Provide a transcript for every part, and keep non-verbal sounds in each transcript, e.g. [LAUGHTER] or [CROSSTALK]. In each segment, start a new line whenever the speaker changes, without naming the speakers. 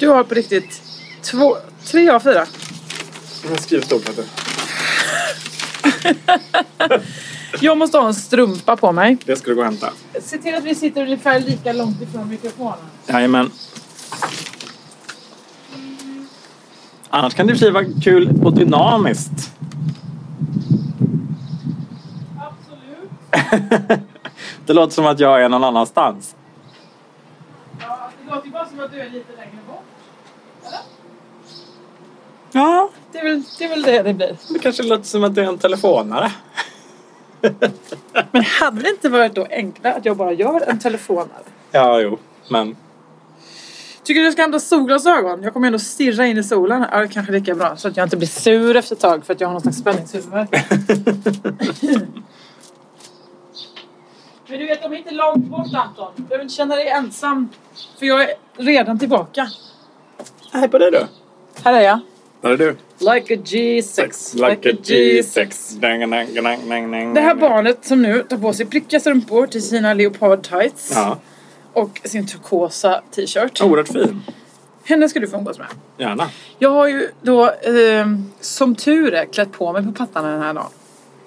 Du har på riktigt två, tre av fyra.
Jag har skrivit upp det.
Jag måste ha en strumpa på mig.
Det ska du gå och hämta.
Se till att vi sitter ungefär lika långt ifrån mikrofonen.
Jajamän. Annars kan det i och för sig vara kul och dynamiskt.
Absolut.
Det låter som att jag är någon annanstans.
Ja, det låter bara som att du är lite längre bort.
Ja,
Det är väl det, är väl det, det blir.
det kanske låter som att jag är en telefonare.
Men hade det inte varit då enklare att jag bara gör en telefonare?
Ja, jo, men
Tycker du jag ska använda solglasögon? Jag kommer ändå stirra in i solen. Ja, det kanske är lika bra så att jag inte blir sur efter ett tag för att jag har någon slags spänningshuvudvärk. [LAUGHS] Men du vet, de är inte långt bort Anton. Du behöver inte känna dig ensam. För jag är redan tillbaka.
hej på dig du.
Här är jag.
Där är du.
Like a G6.
Like a G6. Dang, dang, dang, dang, dang.
Det här barnet som nu tar på sig prickiga strumpor till sina leopard tights
Ja,
och sin turkosa t-shirt.
oerhört fin.
Henne ska du få umgås med.
Gärna.
Jag har ju då ehm, som tur är klätt på mig på pattarna den här dagen.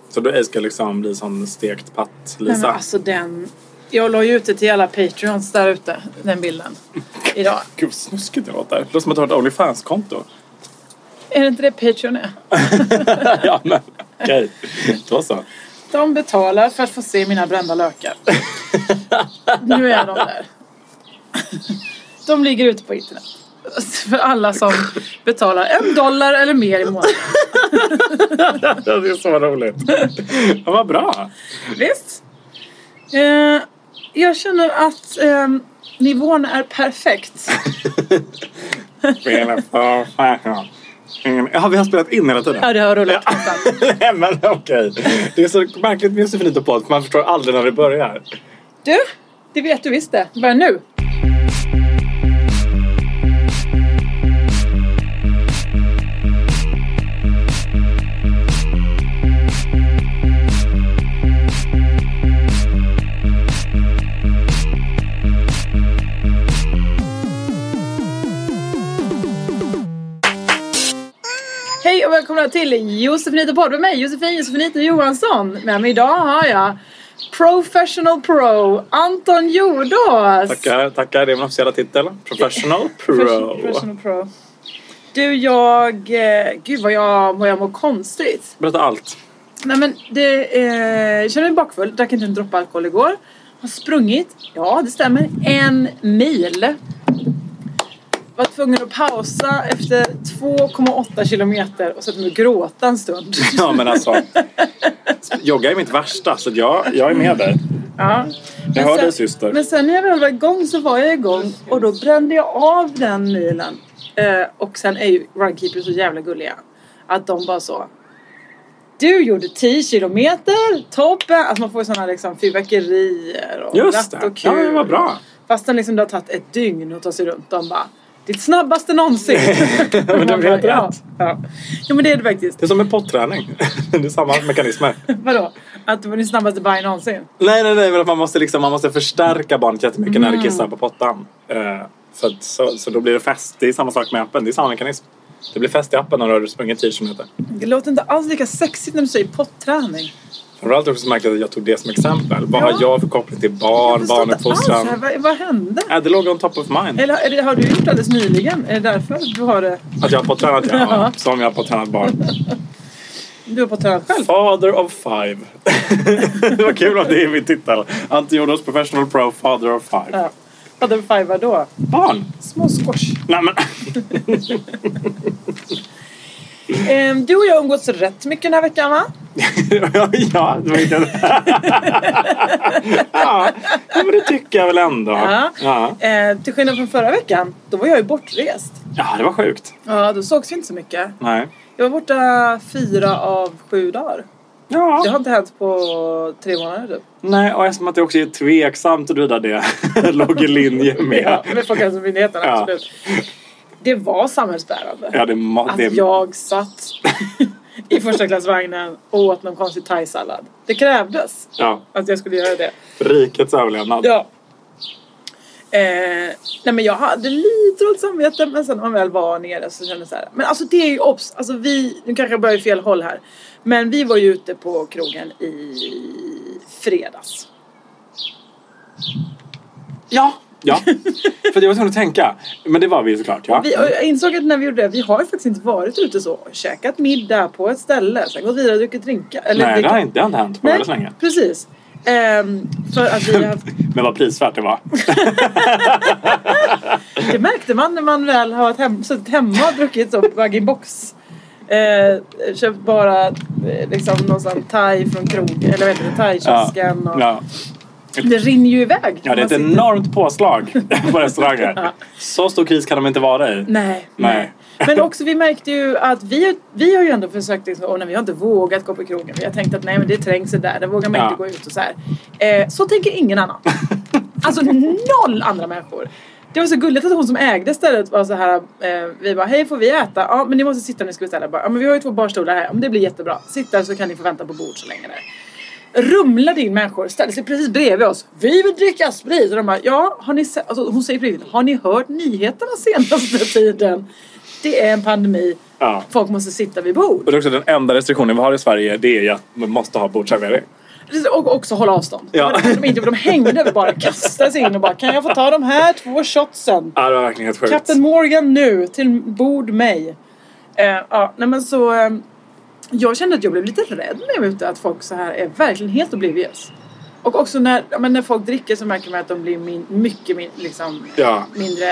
Så du ska liksom bli som stekt
Nej, men
patt-Lisa.
alltså den... Jag la ju ut det till alla patreons där ute, den bilden. Idag.
Gud vad snuskigt det låter. Det låter som att du har ett Onlyfans-konto.
Är det inte det Patreon är?
[LAUGHS] ja, men okej. Då så.
De betalar för att få se mina brända lökar. nu är de där. [LAUGHS] De ligger ute på internet. [LAUGHS] För alla som betalar en dollar eller mer i månaden.
Det är så roligt. Ja, vad bra.
Visst? Eh, jag känner att eh, nivån är perfekt.
Mm. Ja, vi har spelat in hela tiden.
Ja, det har rullat utan.
[LAUGHS] Nej, men okej. Det är så märkligt med Josefinito podd. för Man förstår aldrig när det börjar.
Du, det vet du visst det. Börja nu. Hej och välkomna till Josefinito podd med mig Josefin Josefinito Johansson. Med mig idag har jag Professional Pro Anton Jordås.
Tackar, tackar. Det är min officiella titel. Professional pro.
Professional Pro. Du, jag... eh, Gud vad jag, vad jag mår konstigt.
Berätta allt. [LAUGHS]
Nej men, det, eh, jag känner mig bakfull. Drack inte en droppe alkohol igår. Har sprungit, ja det stämmer, en mil. Var tvungen att pausa efter 2,8 kilometer och sätta mig och gråta en stund.
Ja, men alltså. Jogga är mitt värsta, så jag, jag är med dig.
Ja.
Mm. Jag hör dig, syster.
Men sen när jag väl var igång så var jag igång och då brände jag av den milen. Eh, och sen är ju runkeepers så jävla gulliga. Att de bara så. Du gjorde 10 kilometer, toppen! Alltså man får ju sådana liksom fyrverkerier och
Just
ratt
det.
och
Ja,
kul.
det var bra.
Fastän liksom det har tagit ett dygn att ta sig runt. De bara, ditt snabbaste
[LAUGHS]
någonsin!
Men
Man
de
bara,
är helt
ja,
rätt.
ja. ja men det är det faktiskt.
Det är som en potträning. [LAUGHS] Det är samma mekanismer.
Vadå? Att det var din snabbaste baj någonsin?
Nej, nej, nej. men att Man måste, liksom, man måste förstärka barnet jättemycket när
Mm.
det kissar på pottan. Eh, för att, så, så då blir det fest. Det är samma sak med appen. Det är samma mekanism. Det blir fest i appen när du har sprungit 10 kilometer.
Det låter inte alls lika sexigt när du säger potträning.
Framförallt också märkligt att jag tog det som exempel. Vad
Ja.
har jag för koppling till
Jag
barn,
förstår inte alls
barnuppfostran?
här. Vad, vad hände?
Nej, det låg on top of mind.
Eller är det, har du gjort det alldeles nyligen? Är det därför du har det?
Att jag har pottränat, ja.
Ja.
Som jag har pottränat barn.
Du har på tränat själv.
Father of five. [LAUGHS] det var kul om det är min titel. Ante Jordås Professional Pro Father of five.
Ja. Father of five vadå?
Barn!
Små squash.
Nej men.
Ehm, du och jag umgås rätt mycket den här veckan va?
ja, det var inte... ja, men det tycker jag väl ändå.
Ja.
Ja,
Ehm, till skillnad från förra veckan, då var jag ju bortrest.
ja det var sjukt.
Ja, då sågs vi inte så mycket.
Nej.
Jag var borta fyra av sju dagar. Det
Ja.
har inte hänt på tre månader typ.
Nej, och eftersom att det också är tveksamt huruvida det [LAUGHS] låg i linje
Ja,
med...
med Folkhälsomyndigheten,
Ja.
absolut. Det var samhällsbärande.
Ja, det, må-
Att
det...
jag satt [LAUGHS] i första klassvagnen och åt någon konstig thaisallad. Det krävdes
Ja,
att jag skulle göra det.
rikets överlevnad.
Ja. Eh, nej men jag hade lite dåligt samvete men sen när man väl var nere så kände jag så här. Men alltså det är ju obs. Alltså vi, nu kanske jag börjar i fel håll här. Men vi var ju ute på krogen i fredags.
Ja. Ja, för jag var tvungen att tänka. Men det var vi ju såklart. Ja.
Vi, och jag insåg att när vi gjorde det, vi har ju faktiskt inte varit ute så. Käkat middag på ett ställe, sen gått vidare och druckit drinkar. Eller
Nej, det
drickit-
har inte, det har inte hänt på
Nej,
väldigt länge.
precis. Ehm, för att vi har haft,
Men vad prisvärt det var.
det märkte man när man väl har varit hem, suttit hemma och druckit så bag box Eh, köpt bara eh, liksom någon sån thai från krog eller vad heter det, thai-kiosken. och-
Ja.
Det rinner ju iväg.
ja, det är ett
Man sitter-
enormt påslag [LAUGHS] på restauranger.
Ja.
Så stor kris kan de inte vara i.
Nej,
Nej.
nej. Men också vi märkte ju att vi, vi har ju ändå försökt liksom, åh, nej, vi har inte vågat gå på krogen. Vi har tänkt att nej men det är trängsel där, där vågar man
Ja.
inte gå ut och så här. Eh, så tänker ingen annan.
[LAUGHS]
alltså noll andra människor. Det var så gulligt att hon som ägde stället var så här, eh, vi bara hej får vi äta? Ja men ni måste sitta nu ska vi ställa. Jag bara, Ja men vi har ju två barstolar här, ja, men det blir jättebra. Sitt där så kan ni få vänta på bord så länge där rumlade in människor ställde sig precis bredvid oss. Vi vill dricka sprit! Och de bara, ja, har ni sett? Alltså, hon säger bredvid, har ni hört nyheterna senaste [LAUGHS] tiden? Det är en pandemi.
Ja.
Folk måste sitta vid bord.
Och det är också den enda restriktionen vi har i Sverige det är ju att man måste ha bordsservering.
Och också hålla avstånd.
Ja.
Men De, inte, de hängde över bara, kastade sig in och bara, kan jag få ta de här två shotsen?
Ja, det var verkligen helt sjukt.
Captain Morgan nu, till bord mig. Eh, ja, nej men så... Eh, jag kände att jag blev lite rädd när jag var ute, att folk så här är verkligen helt oblivious. Och också när, ja, men när folk dricker så märker man att de blir min, mycket min, liksom,
Ja.
mindre...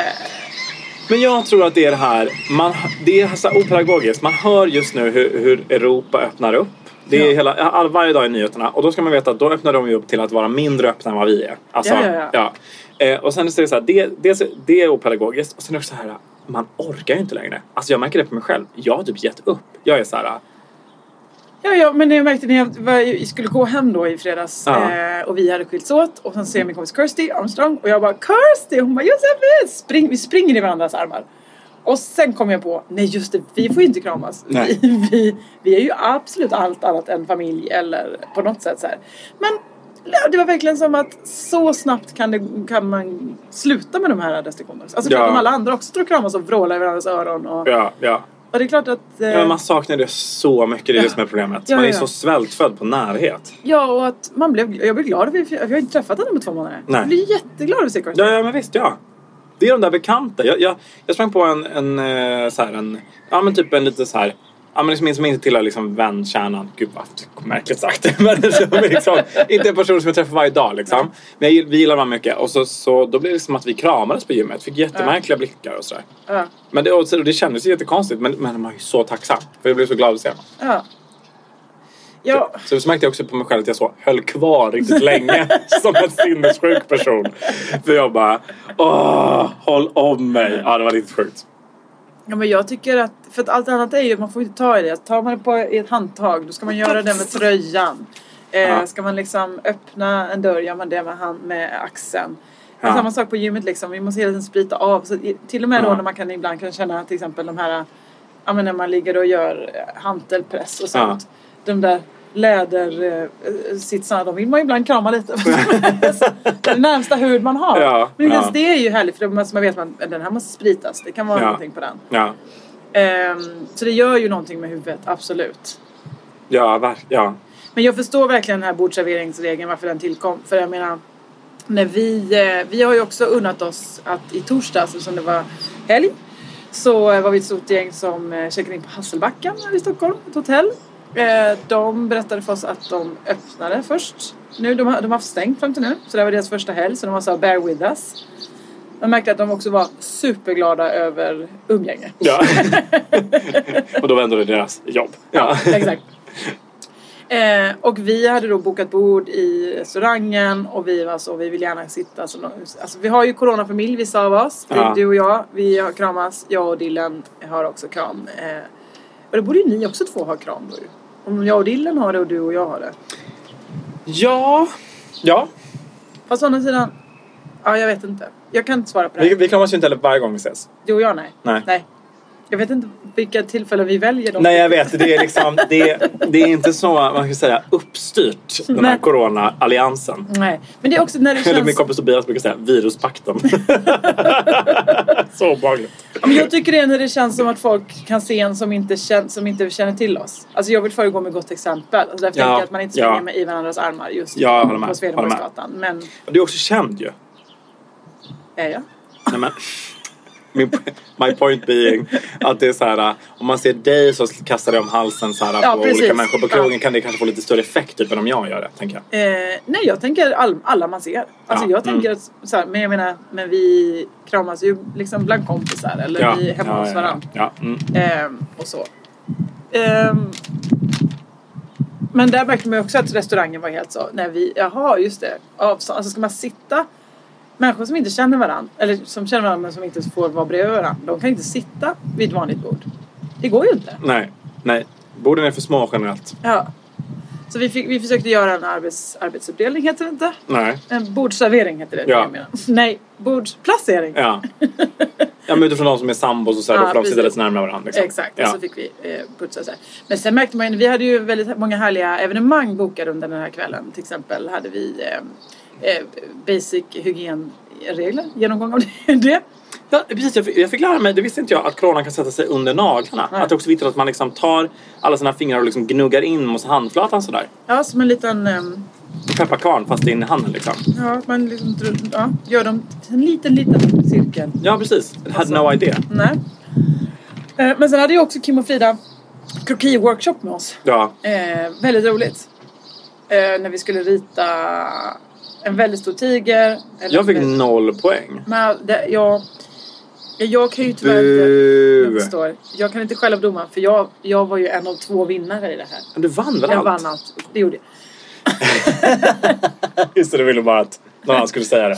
Men jag tror att det är det här, man, det är så här opedagogiskt. Man hör just nu hur, hur Europa öppnar upp. Det är
Ja.
hela, all, varje dag i nyheterna. Och då ska man veta att då öppnar de ju upp till att vara mindre öppna än vad vi är. Alltså,
Ja, ja, ja.
Eh, och sen så är det så här, det, det, det är opedagogiskt. Och sen är det också så här, man orkar ju inte längre. Alltså jag märker det på mig själv. Jag har typ gett upp. Jag är så här,
Ja, ja, men jag märkte när jag var, skulle gå hem då i fredags
Ja.
eh, och vi hade skilts åt och sen ser jag min kompis Kirsty Armstrong och jag bara Kirsty! Hon bara Josefin! Spring, vi springer i varandras armar. Och sen kom jag på, nej just det, vi får ju inte kramas.
Nej.
[LAUGHS] Vi, vi, vi är ju absolut allt annat än familj eller på något sätt så här. Men det var verkligen som att så snabbt kan, det, kan man sluta med de här restriktionerna. Alltså
Ja.
för om alla andra också står och kramas och vrålar i varandras öron. Och,
ja, ja.
och det är klart att... eh,
Ja, men man saknar det så mycket, det är det som är problemet.
Ja,
Man är
ja, ja.
så svältfödd på närhet.
Ja, och att man blev, jag blev glad. Vi, jag har inte träffat henne på två månader.
Nej.
Jag blev jätteglad att se Kirsty.
Ja, ja men visst, ja. Det är de där bekanta. Jag, jag, jag sprang på en, en, eh, så här, en, ja men typ en lite så här, ja men liksom, som inte tillhör liksom vänkärnan. Gud vad märkligt sagt. [LAUGHS] men som är liksom, inte en person som jag träffar varje dag liksom. Men jag, gill- vi gillar varandra mycket. Och så, så då blev det som att vi kramades på gymmet. Fick jättemärkliga blickar och sådär.
Ja.
Men det, och så- och det kändes ju jättekonstigt. Men, men man är ju så tacksam. För jag blev så glad att se honom.
Ja. Ja,
Så, så märkte jag också på mig själv att jag så höll kvar riktigt [LAUGHS] länge som en sinnessjuk person. För jag bara, åh, håll om mig. Ja, det var riktigt sjukt.
ja, men jag tycker att, för att allt annat är ju, man får inte ta i det. Tar man det på i ett handtag, då ska man göra det med tröjan. Eh,
Ja.
ska man liksom öppna en dörr, gör man det med, hand, med axeln.
Ja.
Samma sak på gymmet liksom, vi måste hela tiden sprita av. Så, i- till och med då
Ja.
när man kan ibland kan känna till exempel de här, ja men när man ligger och gör eh, hantelpress och
Ja.
sånt. De där lädersitsarna, de vill man ju ibland krama
[LAUGHS]
lite. den närmsta hud man har.
Ja,
Men inte ens
ja.
det är ju härligt för då måste man vet att den här måste spritas. Det kan vara
Ja.
någonting på den.
Ja,
Ehm, så det gör ju någonting med huvudet, absolut.
ja, ver- ja.
Men jag förstår verkligen den här bordserveringsregeln, varför den tillkom. För jag menar, när vi, eh, vi har ju också unnat oss att i torsdags, eftersom det var helg, så eh, var vi ett stort gäng som eh, checkade in på Hasselbacken här i Stockholm, ett hotell. Eh, de berättade för oss att de öppnade först. Nu, de, har, de har haft stängt fram till nu, så det här var deras första helg. Så de var så här, bear with us. Man märkte att de också var superglada över umgänge.
[LAUGHS] Ja. och då vänder det deras jobb. Ja.
Exakt. Eh, och vi hade då bokat bord i restaurangen och vi var så, vi vill gärna sitta som någon, alltså, Vi har ju coronafamilj vissa av oss. Det är
Ja.
Du och jag, vi har kramas. Jag och Dylan har också kram. Eh, och då borde ju ni också två ha kram då ju. Om jag och Dylan har det och du och jag har det.
Ja. Ja.
Fast å andra sidan, ja jag vet inte. Jag kan inte svara på det.
Vi,
här.
vi kramas ju inte heller varje gång vi ses.
Du och jag nej.
Nej.
Jag vet inte vilka tillfällen vi väljer dem.
Nej, jag vet. Det är liksom... Det, är- det är inte så, man ska säga, uppstyrt. Den här
Nej.
corona-alliansen.
Nej. Men det är också när det
[LAUGHS] Eller min
känns...
kompis Tobias brukar säga viruspakten. [LAUGHS] så obehagligt.
Ja, Men jag tycker det är när det känns som att folk kan se en som inte, kän- som inte känner till oss. Alltså jag vill föregå med gott exempel. Alltså därför
Ja,
tänker jag att man inte springer
ja.
med i varandras armar just
Ja, jag håller med.
på
Håller med.
Swedenborgsgatan. Men eh,
Du är också känd ju.
är jag?
Nej, men, min, my point being att det är så här, äh, om man ser dig så kastar det om halsen så här, äh,
Ja,
på
precis.
olika människor på krogen
Ja.
kan det kanske få lite större effekt typ, än om jag gör det. Tänker jag.
Eh, nej, jag tänker all, alla man ser. Alltså
Ja, mm.
jag tänker att, så här, men jag menar, men vi kramas ju liksom bland kompisar eller vi är hemma hos varandra.
Ja, ja, mm.
Ehm, och så. Ehm, men där märkte man ju också att restaurangen var helt så, nej vi, jaha just det, avstånd, alltså ska man sitta Människor som inte känner varandra, eller som känner varandra men som inte får vara bredvid varandra, de kan inte sitta vid ett vanligt bord. Det går ju inte.
Nej, nej. Borden är för små generellt.
Ja. Så vi, fick, vi försökte göra en arbets, arbetsuppdelning, heter det inte?
Nej.
En bordsservering heter det,
Mm. Ja.
jag menar. Nej, bordsplacering.
Ja. ja men utifrån de som är sambos och så här,
Ja,
då får de sitta
precis.
lite närmare varandra. Liksom.
Exakt,
Ja.
och så fick vi eh, putsa så här. Men sen märkte man ju, vi hade ju väldigt många härliga evenemang bokade under den här kvällen. Till exempel hade vi eh, eh, basic hygienregler, genomgång av [LAUGHS] det. det.
Ja, precis, jag, fick, jag fick lära mig, det visste inte jag, att kronan kan sätta sig under naglarna.
Nej.
Att det är också viktigt att man liksom tar alla sina fingrar och liksom gnuggar in mot handflatan sådär.
Ja, som en liten, ehm,
Pepparkvarn fast in i handen liksom.
ja, man liksom, dr- ja, gör dem till en liten, liten cirkel.
Ja precis, I had
Alltså-
no idea.
Nej. Eh, men sen hade ju också Kim och Frida kroki-workshop med oss.
Ja,
Eh, väldigt roligt. Eh, när vi skulle rita en väldigt stor tiger. eller
jag fick
en-
noll poäng.
Men det, jag, jag kan ju tyvärr inte... Jag,
Bu.
förstår. jag kan inte skälla på domaren för jag, jag var ju en av två vinnare i det här.
Du vann väl
Jag
allt?
vann allt. Det gjorde jag.
Just det, du ville bara att någon annan skulle säga det.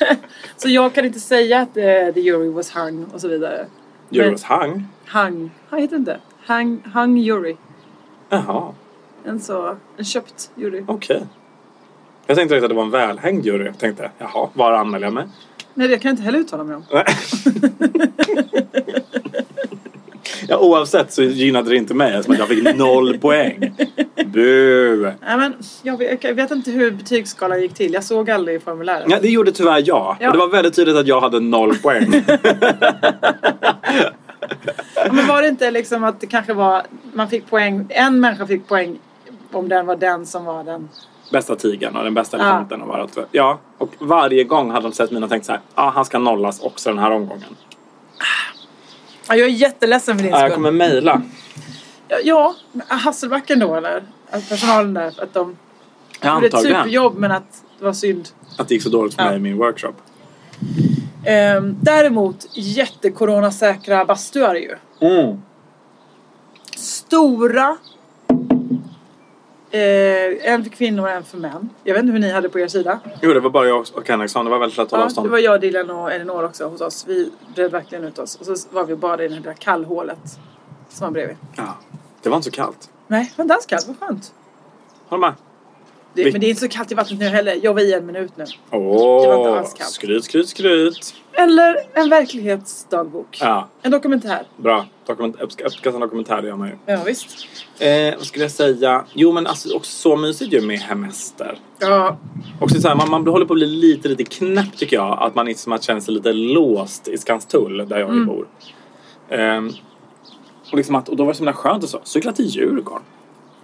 [LAUGHS] Så jag kan inte säga att eh, the jury was hung och så vidare.
Euros hang.
Hung. Han heter det inte. Hung, hung jury.
Jaha,
En så... En köpt jury.
okej. Jag tänkte direkt att det var en välhängd jury. Jag tänkte, jaha, var anmäler jag mig?
Nej, det kan jag inte heller uttala mig om.
Nej. ja, oavsett så gynnade det inte mig eftersom att
[LAUGHS]
jag fick noll poäng. Bu!
Nej, men jag vet, jag vet inte hur betygsskalan gick till. Jag såg aldrig i formuläret.
Ja, det gjorde tyvärr jag.
Ja.
Det var väldigt tydligt att jag hade noll poäng. [LAUGHS]
Men var det inte liksom att det kanske var... Man fick poäng... En människa fick poäng om den var den som var den.
bästa tigern och den bästa elefanten och allt. Ja, och varje gång hade de sett mina och tänkt så här, ja ah, han ska nollas också den här omgången.
Ja, jag är jätteledsen för din
Ja,
skull.
jag kommer mejla.
Ja, Ja, men Hasselbacken då eller? Att personalen där, att de
Jag
gjorde ett
antagligen
superjobb men att det var synd.
att det gick så dåligt för
typ- Ja.
mig i min workshop.
Ehm, däremot jättekoronasäkra bastuar ju.
Mm.
Stora. Eh, en för kvinnor och en för män. Jag vet inte hur ni hade på er sida.
Jo, det var bara jag och Henriksson. Det var väldigt lätt att hålla
Ja, det
avstånd.
var jag, Dylan och Elinor också hos oss. Vi bredde verkligen ut oss. Och så var vi bara i det här lilla kallhålet som var bredvid.
Ja. det var inte så kallt.
Nej, det var inte alls kallt. Vad skönt.
Håll med.
Det,
Vi-
men det är inte så kallt i vattnet nu heller. Jag var i en minut nu. Det var inte
Åh,
alls kallt.
skryt, skryt, skryt.
Eller en verklighetsdagbok.
Ja,
En dokumentär.
bra. Dokument, uppsk- uppskattande dokumentär, det gör man ju.
Ja, visst.
Eh, vad skulle jag säga? Jo, men alltså, också så mysigt ju med hemester.
Ja,
Och så är det så här, man, man håller på att bli lite, lite knäpp tycker jag. Att man liksom att känner sig lite låst i Skanstull där jag bor. Ehm, och, liksom att, och då var det så himla skönt och så. Cykla till Djurgården.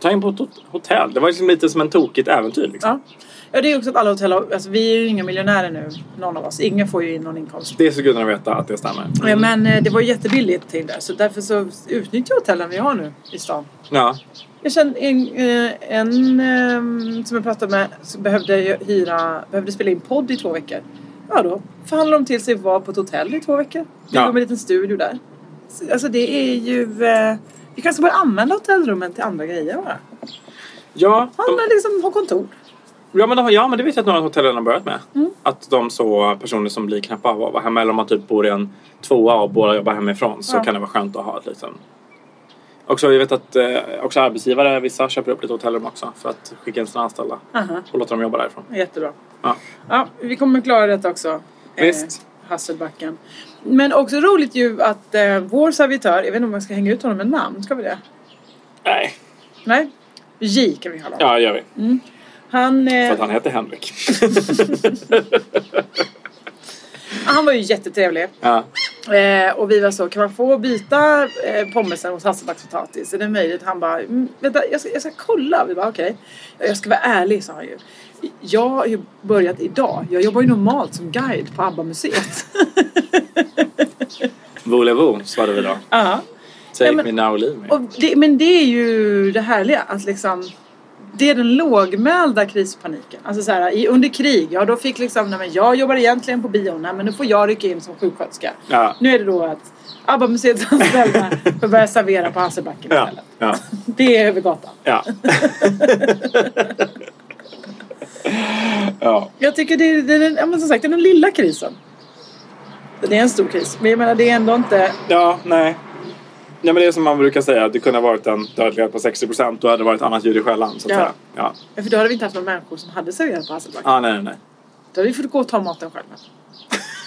ta in på ett hot- hotell. Det var liksom lite som en tokigt äventyr. Liksom.
Ja. ja, det är också att alla hotell har, alltså, vi är ju inga miljonärer nu, någon av oss. Ingen får ju in någon inkomst.
Det är så gudarna veta att det stämmer.
Eh, Men eh, det var ju jättebilligt till där så därför så utnyttjar hotellen vi har nu i stan.
Ja.
Jag känner en, eh, en eh, som jag pratade med som behövde ju hyra, behövde spela in podd i två veckor. Ja då förhandlade de till sig att vara på ett hotell i två veckor. Vi
Ja.
kom med en liten studio där. Så, Alltså det är ju... eh, Vi kanske borde använda hotellrummen till andra grejer bara.
Ja,
Han
de,
har liksom har kontor.
ja, men de, ja, men det vet jag att några hotell redan har börjat med.
Mm.
Att de så personer som blir knappa av att vara hemma eller om man typ bor i en tvåa och båda jobbar hemifrån så
Ja.
kan det vara skönt att ha ett liksom. Också, vi vet att eh, också arbetsgivare, vissa köper upp lite hotellrum också för att skicka in sina anställda
Aha,
och låta dem jobba därifrån.
jättebra.
Ja.
Ja, vi kommer klara detta också.
Visst.
Eh, Hasselbacken. Men också roligt ju att eh, vår servitör, jag vet inte om jag ska hänga ut honom med namn, ska vi det?
Nej,
Nej? J kan vi kalla honom.
ja det gör vi.
Han, eh,
För att han heter Henrik.
han var ju jättetrevlig.
ja.
Eh, och vi var så, kan man få byta eh, pommesen mot hasselbackspotatis? Är det möjligt? Han bara, mm, vänta jag ska, jag ska kolla. Vi bara okej. Ja, Jag ska vara ärlig sa han ju. Jag har ju börjat idag. Jag jobbar ju normalt som guide på ABBA-museet.
Volevo svarade vi då.
Ja. [LAUGHS]
Take
Nej, men-
me now, leave me.
Och det, men det är ju det härliga att liksom det är den lågmälda krispaniken. Alltså så här, i, under krig, ja då fick liksom, nej men jag jobbar egentligen på bion, nej men nu får jag rycka in som sjuksköterska.
Ja.
Nu är det då att ABBA-museets anställda får börja servera på Hasselbacken
Ja,
istället.
ja,
Det är över gatan.
ja. ja.
Jag tycker det är, det är den, ja, men som sagt, det är den lilla krisen. Det är en stor kris, men jag menar det är ändå inte...
Ja, nej. Ja, men det är som man brukar säga, det kunde ha varit en dödlighet på 60 procent och hade det varit annat ljud i skällan. Så att
Ja.
säga. Ja.
För då hade vi inte haft några människor som hade serverat på Hasselbacken.
Ah, nej, nej,
Då hade vi fått gå och ta maten själva.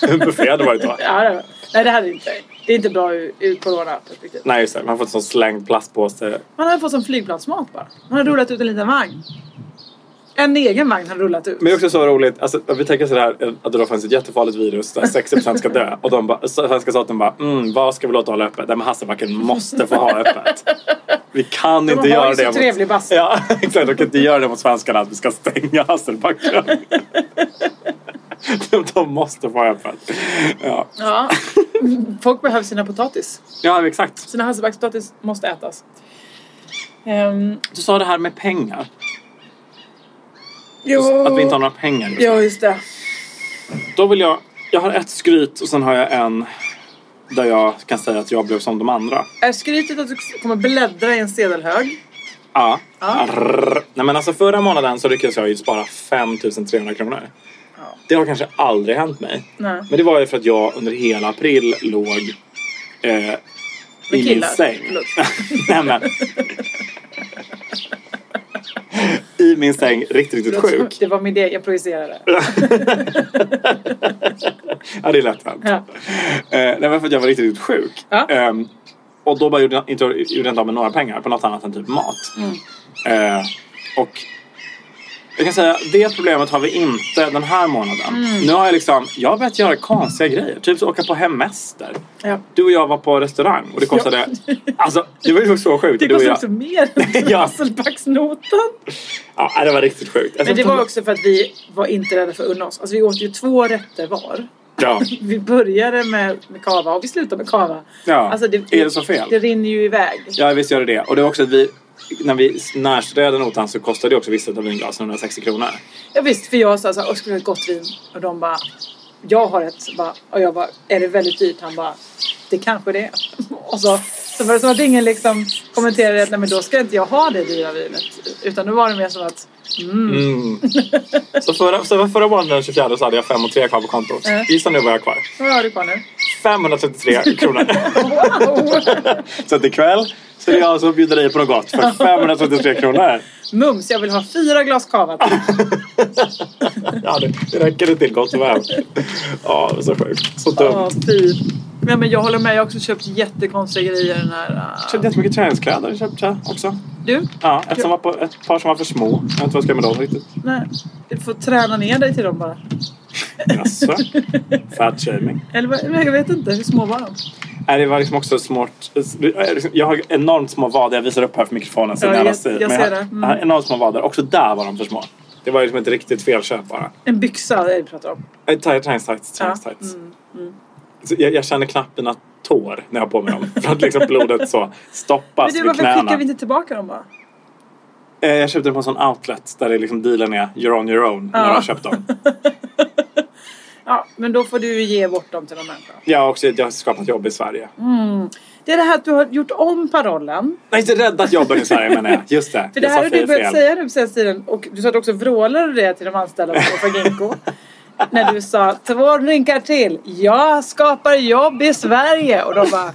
nej. [LAUGHS] En buffé hade varit då.
Ja, det, nej, det hade vi inte. Det är inte bra ur, ur coronaperspektiv.
Nej, just det. Man får en sån slängd plastpåse.
Man hade fått som flygplatsmat bara. Man hade rullat ut en liten vagn. En egen vagn hade rullat ut.
Men det är också så roligt, alltså, vi tänker sådär att det då finns ett jättefarligt virus där 60 procent ska dö. Och de bara, svenska staten bara, mm, vad ska vi låta hålla öppet? Nej, men Hasselbacken måste få ha öppet. Vi kan
De
inte
har
göra
ju så
det.
trevlig bastu.
Ja, [LAUGHS] exakt. De kan inte göra det mot svenskarna att vi ska stänga Hasselbacken. [LAUGHS] de måste få ha öppet. Ja.
Ja. Folk behöver sina potatis.
Ja, exakt.
Sina hasselbackspotatis måste ätas. Ehm,
Du sa det här med pengar.
jo.
Att vi inte har några pengar. just nu.
Ja, just det.
Då vill jag... Jag har ett skryt och sen har jag en där jag kan säga att jag blev som de andra.
Är skrytet att du kommer bläddra i en sedelhög?
Ja.
Ja.
Arr. Nej men alltså förra månaden så lyckades jag ju spara 5 300 kronor.
Ja.
Det har kanske aldrig hänt mig.
Nej.
Men det var ju för att jag under hela april låg eh, i min
killar.
säng.
Förlåt.
[LAUGHS] Nej men. I min säng, riktigt, riktigt sjuk.
Det var min idé, jag projicerade.
Ja, det är lätt hänt.
Ja.
Eh, det var för att jag var riktigt, riktigt sjuk.
Ja.
Ehm, och då bara gjorde jag, inte, gjorde jag inte av med några pengar på något annat än typ mat.
Mm.
Eh, och jag kan säga, det problemet har vi inte den här månaden.
Mm.
Nu har jag liksom, jag har börjat göra konstiga grejer. Typ så åka på hemester.
Ja.
Du och jag var på restaurang och det kostade, alltså det var ju så sjukt.
Det
Du och
kostar
jag,
också [LAUGHS] mer än
Ja.
hasselbacksnotan.
ja, det var riktigt sjukt. Alltså,
Men det var också för att vi var inte rädda för att unna oss. Alltså vi åt ju två rätter var.
Ja,
Vi började med, med kava och vi slutade med kava.
ja.
Alltså
är det så fel?
Det rinner ju iväg.
Ja, visst gör det det. Och det var också att vi, när vi närstuderade notan så kostade det också vissa av vinglasen 160 kronor.
Ja, visst, för jag sa så här, "Åh, skulle vi ha ett gott vin? Och de bara, jag har ett. Bara, och jag bara, är det väldigt dyrt? Han bara, det kanske det är. [LAUGHS] Och så, så var det som att ingen liksom kommenterade att nej men då ska inte jag ha det dyra vinet. Utan nu var det mer som att, mm.
Mm. så, förra, så förra månaden den 24 så hade jag 5 och 3 kvar på kontot.
Mm.
Gissa nu vad jag har kvar.
vad har du kvar nu? [LAUGHS]
533 kronor.
Wow!
[LAUGHS] så att ikväll så är det jag som bjuder dig på något gott för 533 kronor.
Mums, jag vill ha fyra glas kava typ. till.
Ja, det, det räcker det till gott och väl. Ja, det är så sjukt. Så
Ja,
dumt.
fy. Nej, men jag håller med, jag har också köpt jättekonstiga grejer den här. äh,
Jag köpte jättemycket träningskläder köpte jag också.
Du,
Ja, ett, som var på, ett par som var för små. Jag vet inte vad jag ska göra med dem riktigt.
nej. Du får träna ner dig till dem bara.
Jaså? Fat shaming.
Eller vad- nej, jag vet inte, hur små var de?
Nej, det var liksom också smart. Eh, liksom, Jag har enormt små vader. Jag visar upp här för mikrofonen. Så
Ja,
nära
jag-
sig.
jag
Men
ser
jag,
det. Mm.
jag har enormt små vader. Också där var de för små. Det var liksom ett riktigt felköp bara.
En byxa är det vi pratar om.
Eh, tight- Träningstights,
Ja.
träningstights.
Mm.
Så Jag, jag känner knappt mina tår när jag har på mig dem.
[LAUGHS]
För att liksom blodet så
Men
stoppas
du,
vid
varför
knäna.
skickar vi inte tillbaka dem bara?
Eh, Jag köpte dem på en sån outlet där det liksom dealen är you're on your own när
Ja.
du har köpt dem.
Ja, men då får du ju ge bort dem till någon människa.
Jag har också jag har skapat jobb i Sverige.
Mm. Det är det här att du har gjort om parollen.
Nej, inte räddat jobben i Sverige menar jag. Just det.
För det
Jag
här
sa
har du
fel,
börjat
fel.
säga nu på senaste tiden. Och du sa att du också vrålade det till de anställda på
[LAUGHS]
Fagenco. när du sa två drinkar till. Jag skapar jobb i Sverige. Och de bara,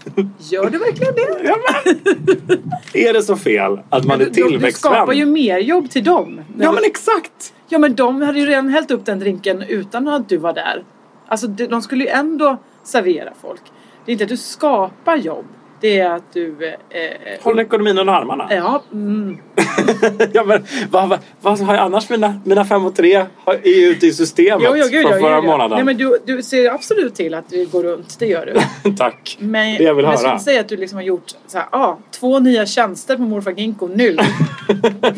gör du verkligen det?
Ja, men, [LAUGHS] är det så fel att man
Du-
är
du, du skapar
tillväxtvän?
ju mer jobb till dem.
Ja men exakt!
ja, men de hade ju redan hällt upp den drinken utan att du var där. Alltså de de skulle ju ändå servera folk. Det är inte att du skapar jobb. Det är att du... eh, Eh,
Håll ekonomin under armarna.
ja, mm.
[LAUGHS] ja, men, vad, vad, vad har jag annars mina, mina fem och tre har, är ju ute i systemet
Jo, jo, gud,
från
ja,
förra
gud, ja.
månaden.
Nej, men du, du ser absolut till att det går runt, det gör
[LAUGHS]
du.
Tack!
Men
Det jag vill
men
höra.
skulle inte säga att du liksom har gjort så här, ah, två nya tjänster på morfar Ginko
[LAUGHS]
nu.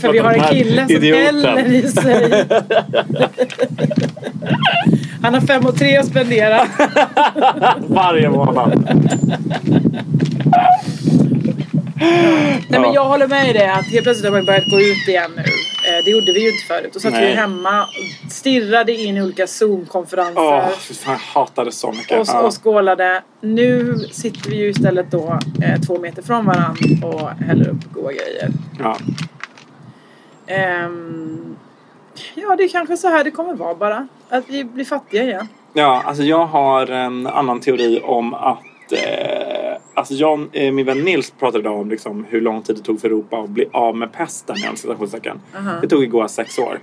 För vi har en
Den här
kille som
idioten.
häller i
[LAUGHS]
sig. Han har fem och tre att spendera.
Varje
[LAUGHS]
månad.
Nej, men
Ja.
jag håller med i det att helt plötsligt har man börjat gå ut igen nu. Eh, Det gjorde vi ju inte förut. Då satt vi
Nej.
hemma och stirrade in i olika Zoom-konferenser.
Åh, fy fan, jag hatar det så mycket.
och,
Ja.
och skålade. Nu sitter vi ju istället då eh, två meter från varandra och häller upp goda grejer.
Ja.
Ehm, ja, det är kanske så här det kommer vara bara. Att vi blir fattiga igen.
Ja, alltså jag har en annan teori om att... Eh, alltså jag, eh, min vän Nils pratade idag om liksom hur lång tid det tog för Europa att bli av med pesten. Inom citationstecken.
Aha.
Det tog igår sex år.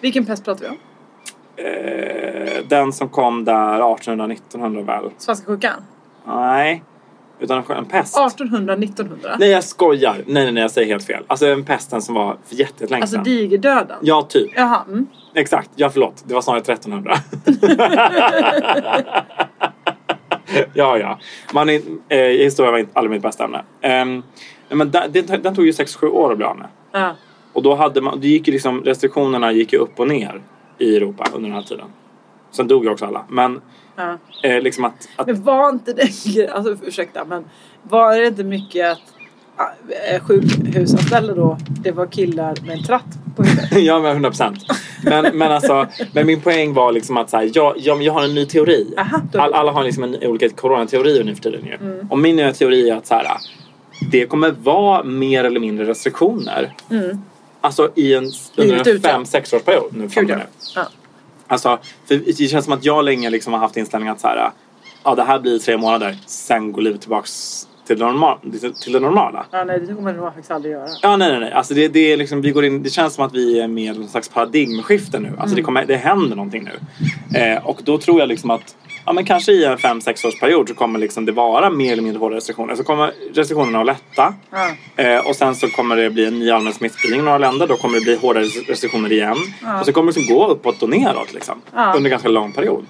Vilken pest pratar vi om?
Eh, den som kom där 1800-1900 väl?
Svenska sjukan?
Nej. Utan en pest.
1800-1900?
Nej, jag skojar. Nej, nej, nej, jag säger helt fel. Alltså en pesten som var för jättelänge
Alltså
sedan.
digerdöden?
Ja, typ.
Jaha. Mm.
Exakt. Ja, förlåt. Det var snarare 1300. [LAUGHS] ja, ja. Man är, eh, historia var inte aldrig mitt bästa ämne. Ehm, nej, men den, den, den tog ju 6-7 år att bli av med.
Ja.
Och då hade man, det gick ju liksom, restriktionerna gick ju upp och ner i Europa under den här tiden. Sen dog ju också alla. Men
Ja.
eh, liksom att... att [LAUGHS]
Men var inte det alltså ursäkta men var det inte mycket att äh, sjukhusanställda då, det var killar med en tratt på huvudet?
ja, men 100 procent. Men, men, alltså, men min poäng var liksom att så här, jag, jag, jag har en ny teori.
Aha, då- Mm.
All, alla har liksom en, olika coronateorier nu för tiden. Ju. Och min nya teori är att så här, det kommer vara mer eller mindre restriktioner.
Mm.
Alltså i en,
Livet
under en
ute.
fem, sexårsperiod nu
Gud
framöver.
ja.
nu.
ja.
Alltså, för det känns som att jag länge liksom har haft inställningen att så här, ja, det här blir tre månader, sen går livet tillbaks till det, normal, till- till det normala.
Ja, nej, det kommer de faktiskt aldrig göra.
Ja, nej, nej, nej. Alltså det, det, är liksom, vi går in, det känns som att vi är med i någon slags paradigmskifte nu. Alltså
Mm.
det, kommer, det händer någonting nu. Eh, och då tror jag liksom att ja, men kanske i en fem 6 års period så kommer liksom det vara mer eller mindre hårda restriktioner. Så kommer restriktionerna att lätta.
Ja.
Eh, och sen så kommer det bli en ny allmän smittspridning i några länder. Då kommer det bli hårdare restriktioner igen.
Ja.
Och så kommer det liksom gå uppåt och neråt liksom,
Ja.
under en ganska
[GASPS]
lång period.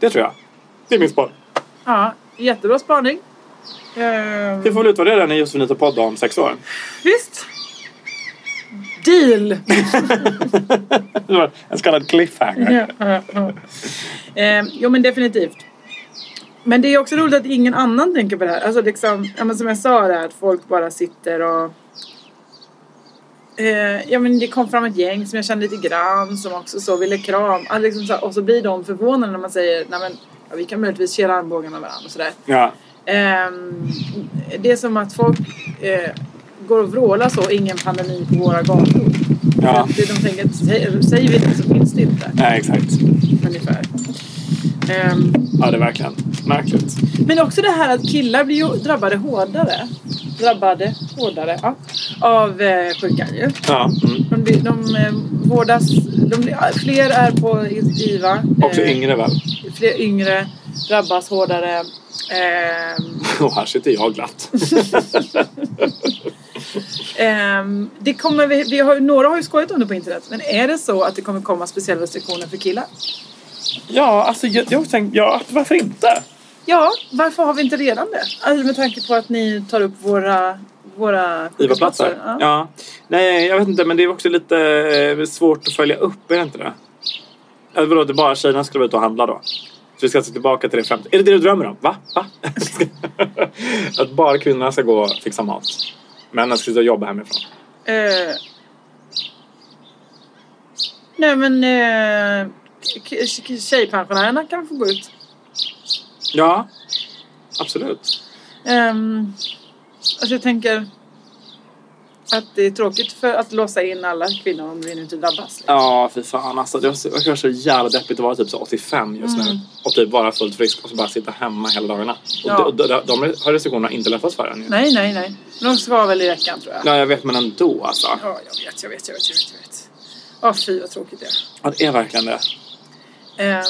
Det tror jag. Det är min spår.
ja, jättebra spaning. Ehm,
Vi får väl utvärdera den i Josefinito podd om sex år. [LAUGHS]
visst. Deal!
Det var en så kallad cliffhanger.
Ja, ja, ja. Ehm, Eh, jo men definitivt. Men det är också roligt att ingen annan tänker på det här. Alltså liksom, ja, men som jag sa där, att folk bara sitter och... Eh, ja men det kom fram ett gäng som jag kände lite grann som också så ville kram. Alltså, liksom, så här, och så blir de förvånade när man säger, nej men ja, vi kan möjligtvis kela armbågarna med varandra och sådär.
Ja.
Ehm, det är som att folk eh, går och vrålar så, ingen pandemi på våra gator.
Ja.
För att de tänker att "Sä- säger vi det så finns det inte
Nej, exakt.
ungefär. Ehm,
Ja, det är verkligen märkligt.
men också det här att killar blir ju drabbade hårdare. Drabbade hårdare, ja. Av eh, sjukan ju.
Ja. Mm.
De, blir, de eh, vårdas, de blir, fler är på IVA.
Också
eh,
yngre väl? [LAUGHS]
Fler yngre drabbas hårdare. Ehm,
Och här sitter jag [LAUGHS] glatt.
ehm, det kommer, vi, vi har, ju- några har ju skojat om det på internet. Men är det så att det kommer komma speciella restriktioner för killar?
Ja, alltså jag, jag tänkte, ja, varför inte?
Ja, varför har vi inte redan det? Alltså med tanke på att ni tar upp våra... våra
IVA-platser. Ja.
Ja.
Nej, jag vet inte, men det är också lite eh, svårt att följa upp, är det inte det? Eller vadå, det är bara tjejerna skulle vara ute och handla då? Så vi ska alltså tillbaka till det fram. Är det det du drömmer om? Va? Va? [LAUGHS] att bara kvinnorna ska gå och fixa mat. Männen ska sitta och jobba hemifrån.
Eh, nej men... Eh, k- k- tjejpensionärerna kan få gå ut.
Ja, absolut.
Ehm, alltså jag tänker att det är tråkigt för att låsa in alla kvinnor om vi nu inte drabbas.
Ja, fy fan alltså. Det var så, det var så jävla deppigt att vara typ så 85 just nu. Och typ bara fullt frisk och så bara sitta hemma hela dagarna. Och
Mm. Ja.
de, de, de, de har restriktionerna inte lättats för än ju.
Nej, nej, nej. De ska väl i veckan tror jag.
Ja, jag vet men ändå alltså.
Ja, jag vet, jag vet, jag vet, jag vet. Jag vet. Ja, fy vad tråkigt det är.
Ja, det är verkligen det.
Ehm,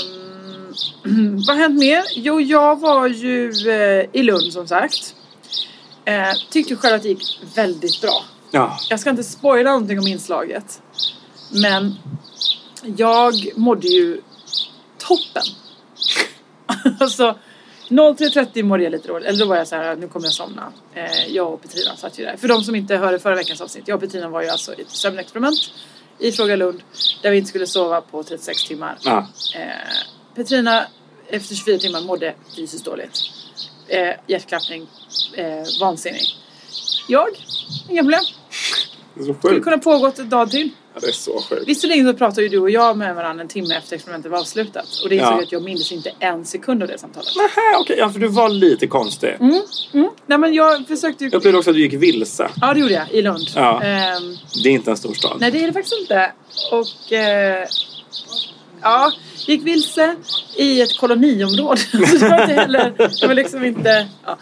[CLEARS THROAT] vad har hänt mer? Jo, jag var ju eh, i Lund som sagt. Eh, tyckte själv att det gick väldigt bra.
Ja.
Jag ska inte spoila någonting om inslaget. Men jag mådde ju toppen. [LAUGHS] alltså, 03.30 mådde jag lite dåligt. Eller då var jag så här, nu kommer jag somna. Eh, jag och Petrina satt ju där. För de som inte hörde förra veckans avsnitt. Jag och Petrina var ju alltså i ett sömnexperiment i Fråga Lund. Där vi inte skulle sova på 36 timmar.
ja.
Eh, Petrina efter 24 timmar mådde fysiskt dåligt. Eh, hjärtklappning, eh, vansinnig. Jag, inga problem.
Det är så
Det skulle
sjukt.
kunna pågått ett dag till.
Ja, det är så sjukt.
Visserligen så pratade ju du och jag med varandra en timme efter experimentet var avslutat. Och det insåg
Ja.
jag att jag mindes inte en sekund av det samtalet.
Nähä, okej. Ja, för du var lite konstig.
Mm. Nej men jag försökte ju...
Jag upplevde också att du gick vilse.
Ja det gjorde jag, i Lund.
Ja.
Ehm,
Det är inte en storstad.
Nej, det är det faktiskt inte. Och... Eh, ja, gick vilse i ett koloniområde. [LAUGHS] Så det var inte heller... Det var liksom inte... Ja.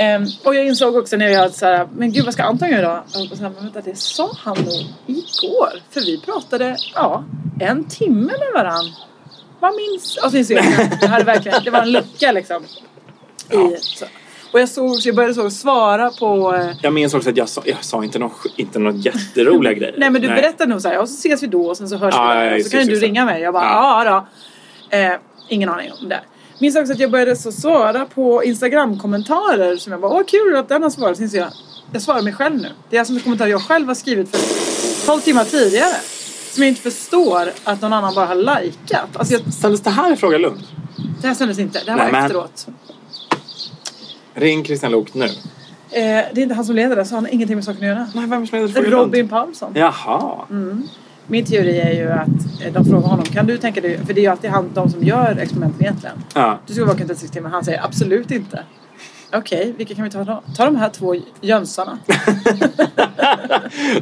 Ehm, och jag insåg också när jag så här, men gud vad ska Anton göra idag? Och så här, men vänta, det sa han nog igår. För vi pratade, ja, en timme med varann. Vad minns... Och så insåg jag att jag hade verkligen... Det var en lucka liksom. I,
Ja.
så. Och jag såg, så jag började så svara på... Eh,
Jag minns också att jag sa, jag sa inte några inte någon
[LAUGHS]
jätteroliga grejer.
Nej men du berättar nog så här, och så ses vi då och sen så hörs
Ja,
vi
ja,
där. Och
ja,
så
just,
kan ju
just,
du
just.
ringa mig. Jag bara, ja
Ja.
då. Eh, ingen aning om det. Minns också att jag började så svara på Instagram-kommentarer som jag bara, åh kul att den har svarat. Sen så jag, jag svarar mig själv nu. Det är alltså en kommentar jag själv har skrivit för 12 timmar tidigare. Som jag inte förstår att någon annan bara har likat. Alltså jag,
Sändes det här i Fråga Lund?
det här sändes inte, det här var
Nej, men-
efteråt.
Ring Christian Lok nu.
Eh, det är inte han som leder det, så han har ingenting med saken att göra.
Nej, vem som leder Fråga Lund?
Robin Paulsson.
Jaha.
Mm. Min teori är ju att eh, de frågar honom, kan du tänka dig, för det är ju alltid han, de som gör experimenten egentligen.
Ja.
Du ska vara kandidat 60 timmar, han säger absolut inte. Okej, vilka kan vi ta då? Ta de här två
[LAUGHS]
jönsarna.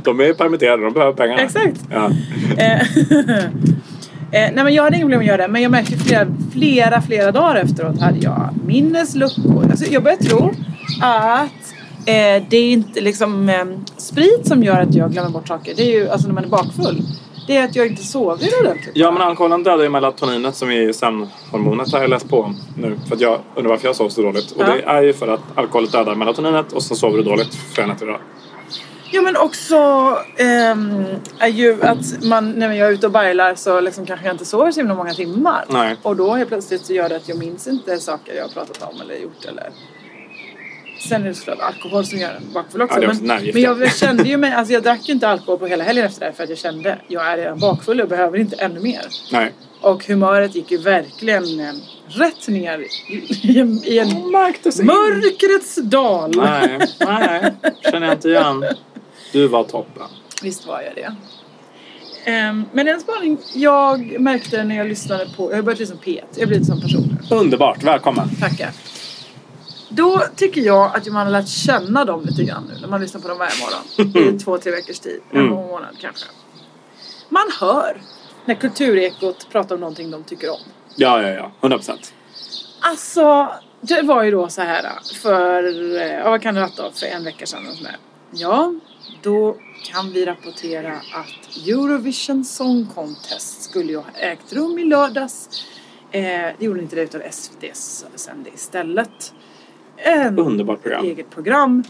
De är ju permitterade, de behöver pengarna.
Exakt.
Ja.
Eh, [LAUGHS] eh, nej men jag hade inga problem att göra det, men jag märkte flera, flera, flera dagar efteråt hade jag minnesluckor. Alltså jag börjar tro att eh, det är inte liksom eh, sprit som gör att jag glömmer bort saker. Det är ju alltså när man är bakfull. Det är att jag inte sover ordentligt.
ja, men alkoholen dödar ju melatoninet som är sömnhormonet har jag läst på om nu. För att jag undrar varför jag sov så dåligt. Och
Ja.
det är ju för att alkohol dödar melatoninet och så sover du dåligt flera nätter i rad.
Ja men också ehm, är ju att man, när jag är ute och bailar så liksom kanske jag inte sover så himla många timmar.
Nej.
Och då helt plötsligt så gör det att jag minns inte saker jag har pratat om eller gjort eller... Sen är det såklart alkohol som gör en bakfull också.
Ja, det är också
men,
nervgift,
men
ja.
jag kände ju
[LAUGHS]
mig, alltså jag drack ju inte alkohol på hela helgen efter det här för att jag kände jag är redan bakfull och behöver inte ännu mer.
Nej.
Och humöret gick ju verkligen eh, rätt ner i, i en, i en
Märktes
mörkrets dal.
Nej, nej, känner jag inte igen. Du var toppen.
Visst var jag det. Ehm, men en spaning jag märkte när jag lyssnade på... Jag har börjat lyssna på P1. Jag har blivit som person nu.
Underbart, välkommen.
Tackar. Då tycker jag att man har lärt känna dem lite grann nu när man lyssnar på dem varje morgon. I två, tre veckors tid. En
Mm.
månad kanske. Man hör när Kulturekot pratar om någonting de tycker om.
Ja, ja, ja. 100 procent.
Alltså, det var ju då så här äh, för, eh, ja, vad kan det ha varit då, för en vecka sedan eller sånt där. Ja, då kan vi rapportera att Eurovision Song Contest skulle ju ha ägt rum i lördags. Eh, det gjorde inte det utan SVT sände istället. Ehm, En
Underbart program.
eget program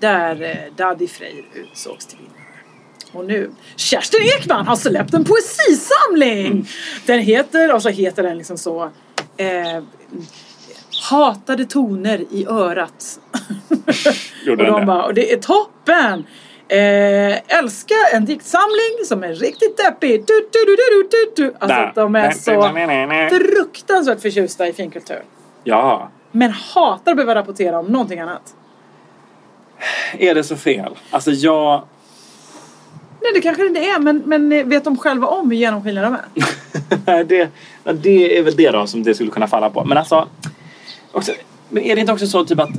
där eh, Daddy Freyr utsågs till vinnare. Och nu, Kerstin Ekman har släppt en
Mm.
poesisamling! Den heter, och så heter den liksom så, eh, hatade toner i örat.
[LAUGHS] Gjorde
och
den
de
det?
bara, och det är toppen! Eh, älska en diktsamling som är riktigt deppig. Du, du, du, du, du, du, du. Alltså
Där.
att de är så
Nej, nej, nej, nej.
fruktansvärt förtjusta i finkultur.
Ja.
Men hatar att behöva rapportera om någonting annat.
Är det så fel? Alltså jag...
Nej, det kanske det inte är, men, men eh, vet de själva om hur genomskinliga de är?
Nej, [LAUGHS] det, ja, det är väl det då som det skulle kunna falla på. Men alltså... Också, men är det inte också så typ att... eh,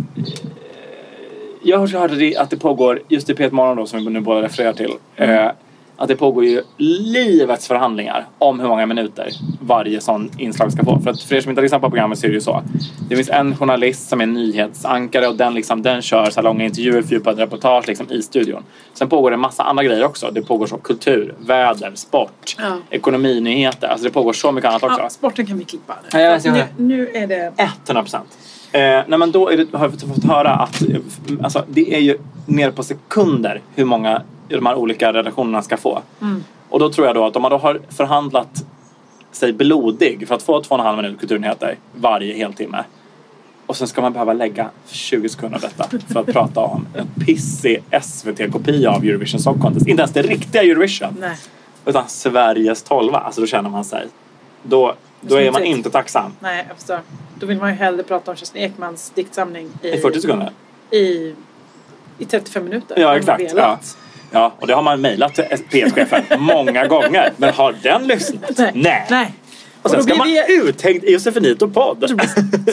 Jag har så hört att det- att det pågår, just i P1 Morgon då som vi nu båda refererar till.
Mm.
Eh, att det pågår ju livets förhandlingar om hur många minuter varje sån inslag ska få. För, att, för er som inte har lyssnat på programmet så är det ju så. Det finns en journalist som är nyhetsankare och den, liksom, den kör så här långa intervjuer, fördjupade reportage liksom, i studion. Sen pågår det en massa andra grejer också. Det pågår så kultur, väder, sport,
Ja.
ekonominyheter. Alltså det pågår så mycket annat också.
Ja, sporten kan vi klippa.
Ja, jag vet, jag
nu,
vet.
nu är det...
100 procent. Eh, nej, men då är det, har jag fått höra att eh, alltså, det är ju ner på sekunder hur många de här olika redaktionerna ska få. Och då tror jag då att om man då har förhandlat sig blodig för att få två och en halv minut kulturnyheter varje heltimme. Och sen ska man behöva lägga 20 sekunder av detta för att prata om en pissig SVT-kopia av Eurovision Song Contest. Inte ens det riktiga Eurovision.
Nej.
Utan Sveriges tolva. Alltså då känner man sig. Då, då är man
Smutsigt.
inte tacksam.
Nej, jag förstår. Då vill man ju hellre prata om Kerstin Ekmans diktsamling i,
I 40 sekunder.
i, i 35 minuter. Om
Ja,
man
exakt.
velat.
Ja. ja, och det har man mejlat till P1-chefen
[LAUGHS]
många gånger. Men har den lyssnat?
Nej. Nej.
Och sen
Och då
ska man
blir
uthängd i Josefinito podd.
[LAUGHS]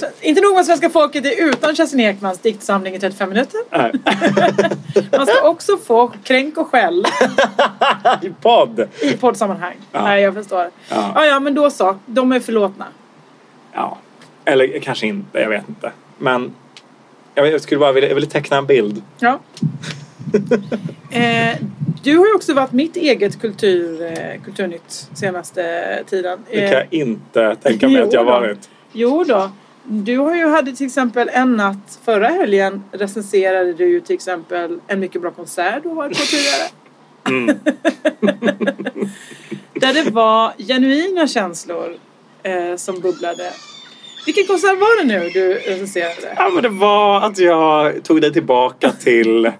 Så, inte nog med svenska folket är utan Kerstin Ekmans diktsamling i 35 minuter.
Nej.
Man
[LAUGHS]
ska också få kränk och skäll
I podd.
i poddsammanhang.
Ja.
Nej, jag förstår.
Ja.
ja, ja, men då så. De är förlåtna.
Ja, eller kanske inte. Jag vet inte. Men jag, jag skulle bara vilja, jag ville teckna en bild. [LAUGHS]
Ja. eh, du har ju också varit mitt eget kultur, eh, kulturnytt senaste tiden.
Det
Eh,
kan jag inte tänka mig
jo
att jag
då.
varit.
Jo då. Du har ju hade till exempel en natt förra helgen recenserade du ju till exempel en mycket bra konsert du har varit på tidigare.
Mm.
[LAUGHS] Där det var genuina känslor eh, som bubblade. Vilken konsert var det nu du recenserade?
Ja, men det var att jag tog dig
[LAUGHS]
tillbaka till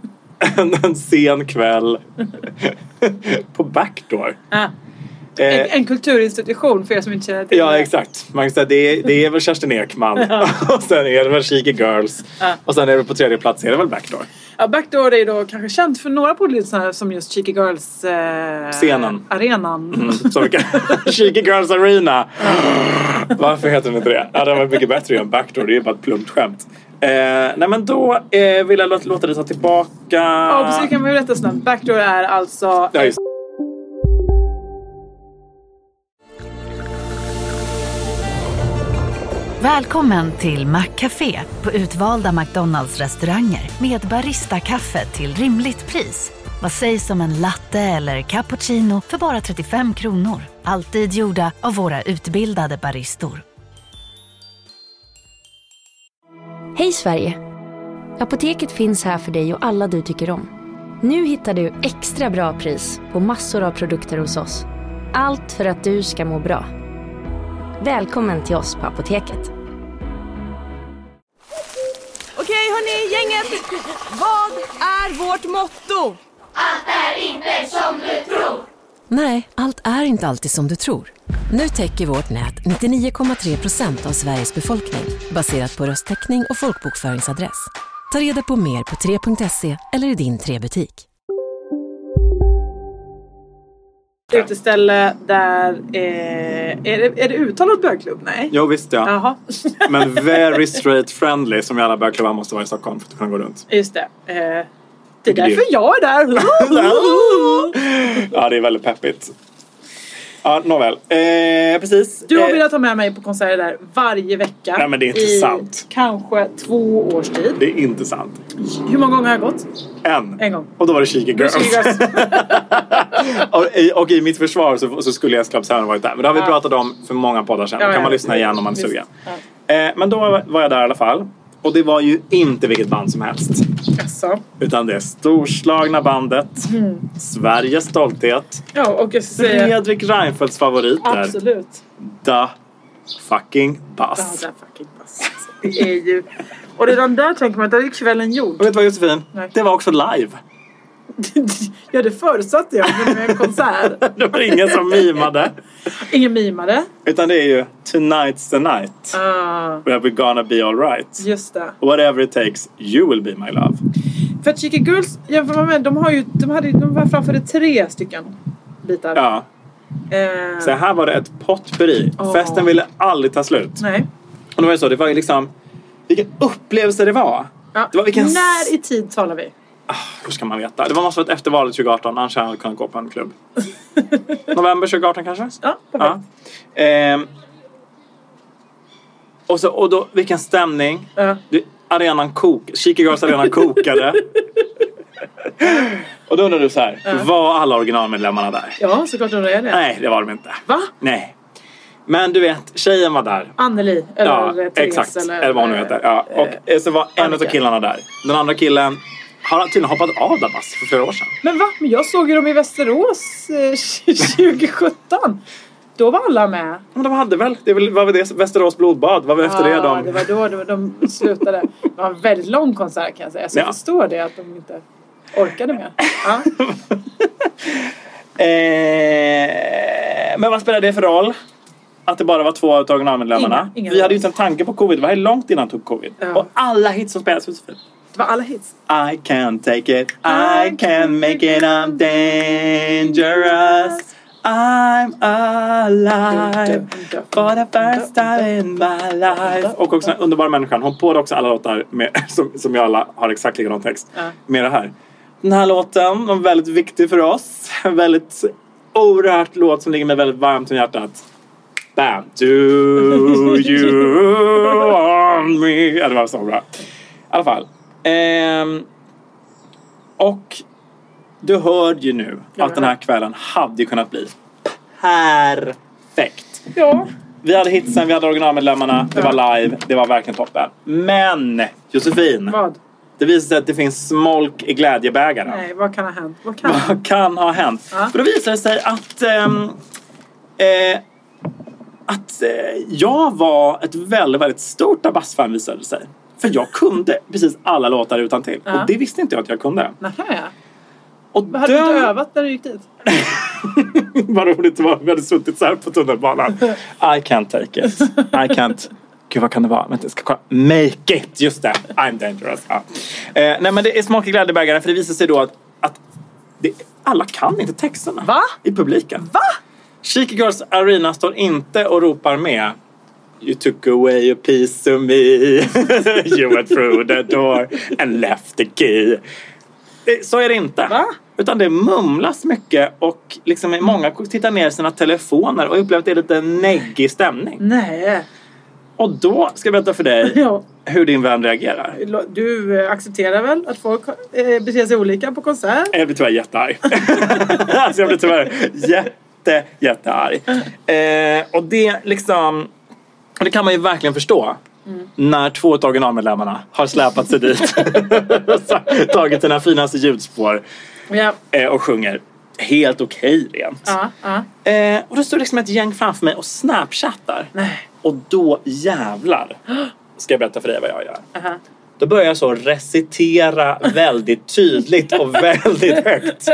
en, en sen kväll på Backdoor.
Ah,
Eh,
en, en kulturinstitution för er som inte känner till
Ja,
det.
exakt. Man kan säga, det, är, det är väl Kerstin Ekman. [LAUGHS] och sen är det väl Cheeky Girls.
Ja.
Och sen är det på tredje plats är det väl Backdoor.
Ja, Backdoor är ju då kanske känt för några poddlyssnare som just Cheeky Girls... Eh,
Scenen. Mhm.
Arenan.
Så vi kan, [LAUGHS] Cheeky Girls Arena. Varför heter den inte det? Ja, den var mycket bättre än Backdoor. Det är ju bara ett plumpt skämt. Eh, nej, men då eh, vill jag låta, låta dig ta tillbaka...
Ja, precis. kan vi berätta snabbt. Backdoor är alltså...
Ja, just.
Välkommen till Maccafé på utvalda McDonalds restauranger med Baristakaffe till rimligt pris. Vad sägs om en latte eller cappuccino för bara 35 kronor? Alltid gjorda av våra utbildade baristor.
Hej Sverige! Apoteket finns här för dig och alla du tycker om. Nu hittar du extra bra pris på massor av produkter hos oss. Allt för att du ska må bra. Välkommen till oss på Apoteket.
Okej hörni, gänget! Vad är vårt motto?
Nej, allt är inte alltid som du tror. Nu täcker vårt nät 99,3 procent av Sveriges befolkning baserat på röstteckning och folkbokföringsadress. Ta reda på mer på 3.se eller i din 3-butik.
uteställe där... Eh, är, det, är det uttalat bögklubb? Nej.
Jo, visst ja.
Jaha, [LAUGHS]
Men very straight friendly som ju alla bögklubbar måste vara i Stockholm för att kunna gå runt.
just det. Eh, det är
är ju-
därför jag är
[LAUGHS]
där.
ja, det är väldigt peppigt. Ja, nåväl. Eh, precis.
Du har
Eh,
velat ha med mig på konserter där varje vecka.
Nej, men det är inte
i
sant.
kanske två års tid.
Det är inte sant.
Hur många gånger har jag gått?
En.
En gång.
Och då var det Cheeky Girls. [LAUGHS] och, i, och i mitt försvar så, så skulle jag Clubsaren varit där. Men det har vi
Ja.
pratat om för många poddar sedan.
Ja,
Då kan
ja.
man lyssna igen om man är
Visst.
sugen. Eh, men då var- var jag där i alla fall. Och det var ju inte vilket band som helst.
Alltså.
Utan det storslagna bandet.
Mm.
Sveriges stolthet.
Ja, och jag säger...
Fredrik Reinfeldts favoriter.
Absolut.
Da fucking Bass.
Ja, där fucking pass. Alltså, Det är ju... Och redan där tänker man att där är kvällen
Och
gjord.
vet du vad Josefin?
Nej.
Det var också live.
ja, det förutsatte jag men med en konsert.
Det var ingen som
[LAUGHS]
mimade.
Ingen mimade.
Utan det är ju Tonight's the night.
Ah,
Where we're gonna be alright.
just det.
Whatever it takes, you will be my love.
För att Chica Girls, jämför man med, de har ju... De, hade, de var framförde tre stycken bitar.
Ja,
Eh,
så här var det ett potpurri.
Åh.
Festen ville aldrig ta slut.
nej.
Och då var det så, det var ju liksom... Vilken upplevelse det var!
Ja.
Det var vilken...
När i tid talar vi?
Hur ska man veta? Det var måste varit efter valet 2018, annars hade jag kunnat gå på
[LAUGHS]
en klubb. November 2018 kanske?
Ja, perfekt.
Ja. Ehm. Och, så, och då, vilken stämning!
Ja.
Det- Arenan kok, Chica Girls
[LAUGHS]
arena kokade. och då undrar du så här, var alla originalmedlemmarna där?
Ja, såklart undrar jag det.
[LAUGHS] Nej, det var de inte.
Va?
Nej. Men du vet, tjejen var där.
Anneli eller
Ja,
Therese
exakt. Eller, vad hon nu heter. Ja. Och eh, så var en av
Annika.
killarna där. Den andra killen har tydligen hoppat av Dabas för flera år sedan.
Men va? Men jag såg ju dem i Västerås eh, [LAUGHS] 2017. Då var alla med.
Men de hade väl, det var väl- var väl det Västerås blodbad, var väl efter det
Ja,
de...
Ah, det var då de, de slutade. Det var en väldigt lång konsert kan jag säga. Så jag
Ja.
förstår det att de inte orkade med.
[LAUGHS]
Ja.
Eh, men vad spelar det för roll? Att det bara var två av originalmedlemmarna.
Ingen- ingen
Vi hade
roll.
ju inte en tanke på covid. Det var ju långt innan tog covid.
Ja.
Och alla hits som spelades Josefin.
Det var alla hits.
I can take it. I can make it. I'm dangerous. I'm alive. For the first time in my life. Och också den underbara människan. Hon påade också alla låtar med, som, som jag alla har exakt likadan text.
Ja.
Med det här. Den här låten var väldigt viktig för oss. En väldigt oerhört låt som ligger mig väldigt varmt om hjärtat. Bam! Do you want me? Ja, det var så bra. I alla fall. Ehm, och du hör ju nu att den här kvällen hade ju kunnat bli perfekt.
Ja.
Vi hade hitsen, vi hade originalmedlemmarna, det var live, det var verkligen toppen. Men Josefin,
Vad?
det visade sig att det finns smolk i glädjebägaren.
Nej, vad kan ha hänt? Vad kan?
Vad [LAUGHS] kan ha hänt?
Ja.
För då visade det sig att, ehm, eh, att eh, jag var ett väldigt, väldigt stort Abbas-fan visade det sig. För jag kunde precis alla låtar utan till.
Ja.
Och det visste inte jag att jag kunde.
Nähä.
Och
Hade du
den-
inte övat när du gick dit?
[LAUGHS] Vad roligt det var. Vi hade suttit så här på tunnelbanan. I can't take it. I can't. Gud vad kan det vara? Vänta, jag ska kolla. Make it! Just det. I'm dangerous. Ja. Eh, nej men det är smak i glädjebägaren för det visar sig då att, att det, alla kan inte texterna.
Va?
I publiken. Va? Chic Girls Arena står inte och ropar med. You took away a piece of me. [LAUGHS] you went through the door and left the key. Det- Så är det inte.
Va?
Utan det mumlas mycket och liksom många tittar ner i sina telefoner och upplever att det är lite neggig stämning.
Nej.
Och då ska jag berätta för dig
Ja.
hur din vän reagerar.
Du eh, accepterar väl att folk eh, beter sig olika på konsert?
Jag blir tyvärr jättearg. [LAUGHS] alltså jag blir tyvärr jätte, jättearg. Eh, och det liksom... Och det kan man ju verkligen förstå.
Mm.
När två av originalmedlemmarna har släpat sig dit. [LAUGHS] tagit sina finaste ljudspår
Ja.
eh, och sjunger helt okej rent.
Ja, ja.
Eh, och då står det liksom ett gäng framför mig och snapchattar.
Nej.
Och då jävlar ska jag berätta för dig vad jag gör.
Aha.
Då börjar jag så recitera väldigt tydligt och väldigt högt.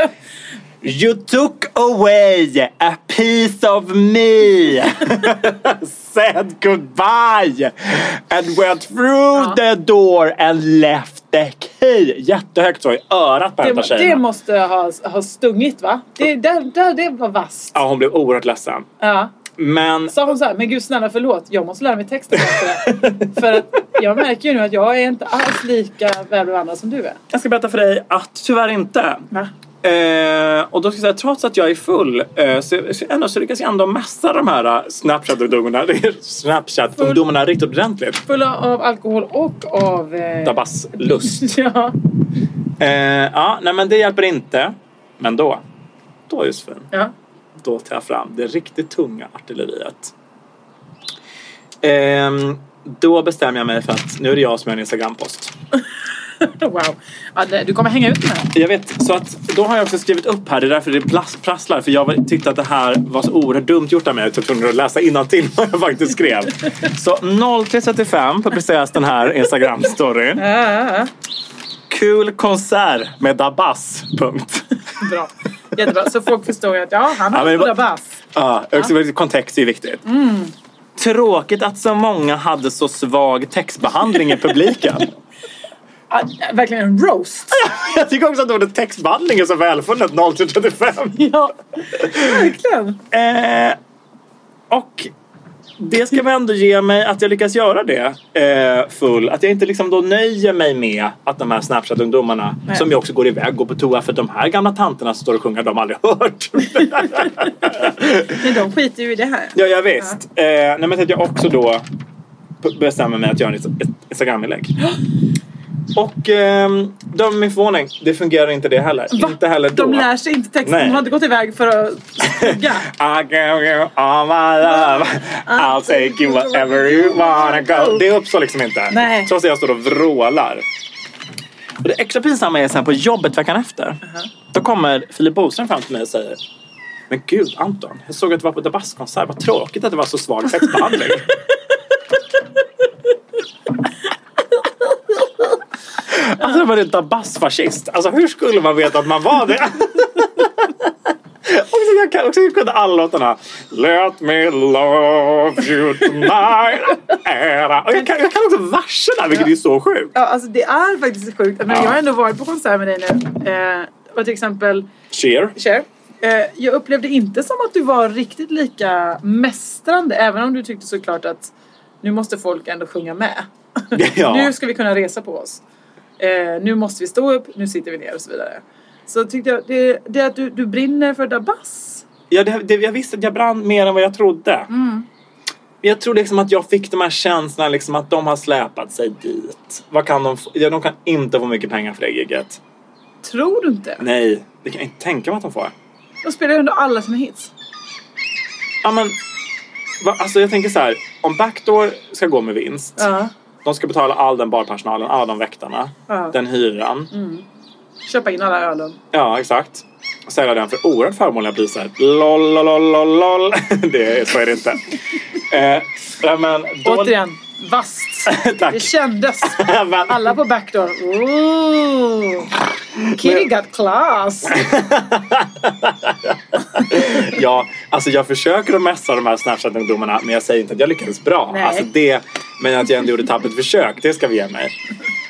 You took away a piece of me. [LAUGHS] Said goodbye. And went through the door and left the key. Jättehögt så i örat på en av
Det, det
tjejerna.
måste ha, ha stungit va? Det, där, där, det var vasst.
Ja, hon blev oerhört ledsen.
Ja.
Men
Sa hon så här, men gud snälla förlåt, jag måste lära mig texten
[LAUGHS]
bättre. För att jag märker ju nu att jag är inte alls lika välbevandrad som du är.
jag ska berätta för dig att tyvärr inte.
Va?
Eh, och då ska jag säga, trots att jag är full eh, så, så, ändå, så lyckas jag ändå massa de här eh, Snapchat-ungdomarna [LAUGHS] Snapchat ungdomarna riktigt ordentligt.
Fulla av alkohol och av... Eh...
Dabas
[LAUGHS]
lust.
Ja.
Eh, ja, nej men det hjälper inte. Men då, då Josefin,
ja.
då tar jag fram det riktigt tunga artilleriet. Ehm, då bestämmer jag mig för att nu är det jag som gör en Instagram-post.
wow. Ja, det, du kommer hänga ut med den.
Jag vet, så att då har jag också skrivit upp här. Det är därför det plas- prasslar. För jag var- tyckte att det här var så oerhört dumt gjort av mig. att Jag var tvungen att läsa innantill [LAUGHS] vad jag faktiskt skrev. Så 03.35 publiceras den här Instagram-storyn. Kul konsert med Dabas. Punkt.
Bra. Jättebra. Så folk förstår ju att ja, han har
men det
ja,
var-
rabass.
Ja, också väldigt- kontext är ju viktigt. Tråkigt att så många hade så svag textbehandling i publiken.
Ja, verkligen en
[LAUGHS]
roast.
Jag tycker också att ordet textbehandling är så välfunnet 0335.
Ja, verkligen.
Eh, och det ska vi ändå ge mig att jag lyckas göra det eh, full. Att jag inte liksom då nöjer mig med att de här Snapchat-ungdomarna
Nej.
som ju också går iväg och går på toa för att de här gamla tanterna som står och sjunger har de aldrig hört. [LAUGHS]
Men de skiter ju i det här.
ja, jag visst. Eh, nej, men så att jag också då p- bestämmer mig att göra ett ett
[GASPS]
Instagram-inlägg. Och ehm, döm min förvåning, det fungerar inte det heller.
Va?
Inte heller då.
De lär sig inte texten.
Nej.
De har inte gått iväg för
[LAUGHS]
att plugga.
I give you all my love I'll take you wherever you wanna go Det uppstår liksom inte.
Nej.
Trots att jag står och vrålar. Och det extra pinsamma är sen på jobbet veckan efter. Då kommer Filip Boström fram till mig och säger Men gud Anton, jag såg att du var på Dabas-konsert. Vad tråkigt att det var så svag sexbehandling. alltså var det Dabas-fascist? Alltså hur skulle man veta att man var det? Och så jag kan också kunna alla låtarna. Let me love you tonight. Era. Och jag, kan, jag kan också verserna, vilket är så sjukt.
Ja, alltså det är faktiskt sjukt. Men Jag har ändå varit på konsert med dig nu. Eh, och till exempel
Cheer.
Cher. Eh, jag upplevde inte som att du var riktigt lika mästrande. Även om du tyckte såklart att nu måste folk ändå sjunga med. [LAUGHS]
Ja.
Nu ska vi kunna resa på oss. Eh, nu måste vi stå upp, nu sitter vi ner och så vidare. Så tyckte jag, det, det att du, du brinner för Dabas.
Ja, det, det, jag visste att jag brann mer än vad jag trodde.
Mm.
Men Jag tror liksom att jag fick de här känslorna liksom att de har släpat sig dit. Vad kan de, få? ja, de kan inte få mycket pengar för det giget.
Tror du inte?
Nej, det kan jag inte tänka mig att de får.
De spelar ju ändå alla sina hits.
Ja, men, va, alltså jag tänker så här. Om Backdoor ska gå med vinst.
Ja.
De ska betala all den barpersonalen, alla de väktarna,
Ja.
den hyran.
Köpa in alla ölen.
Ja, exakt. Och sälja den för oerhört förmånliga priser. Lol, lol, lol, lol, lol. [LAUGHS] Det är, så är det inte. eh, ja, men, då...
Återigen, vasst.
[LAUGHS] Tack.
Det
[LAUGHS]
kändes.
Men-
Alla på backdoor. Ooh. Kitty got class.
[LAUGHS] ja, alltså jag försöker att mässa de här Snapchat-ungdomarna men jag säger inte att jag lyckades bra.
Nej.
Alltså det, men att jag ändå gjorde ett tappert försök, det ska vi ge mig.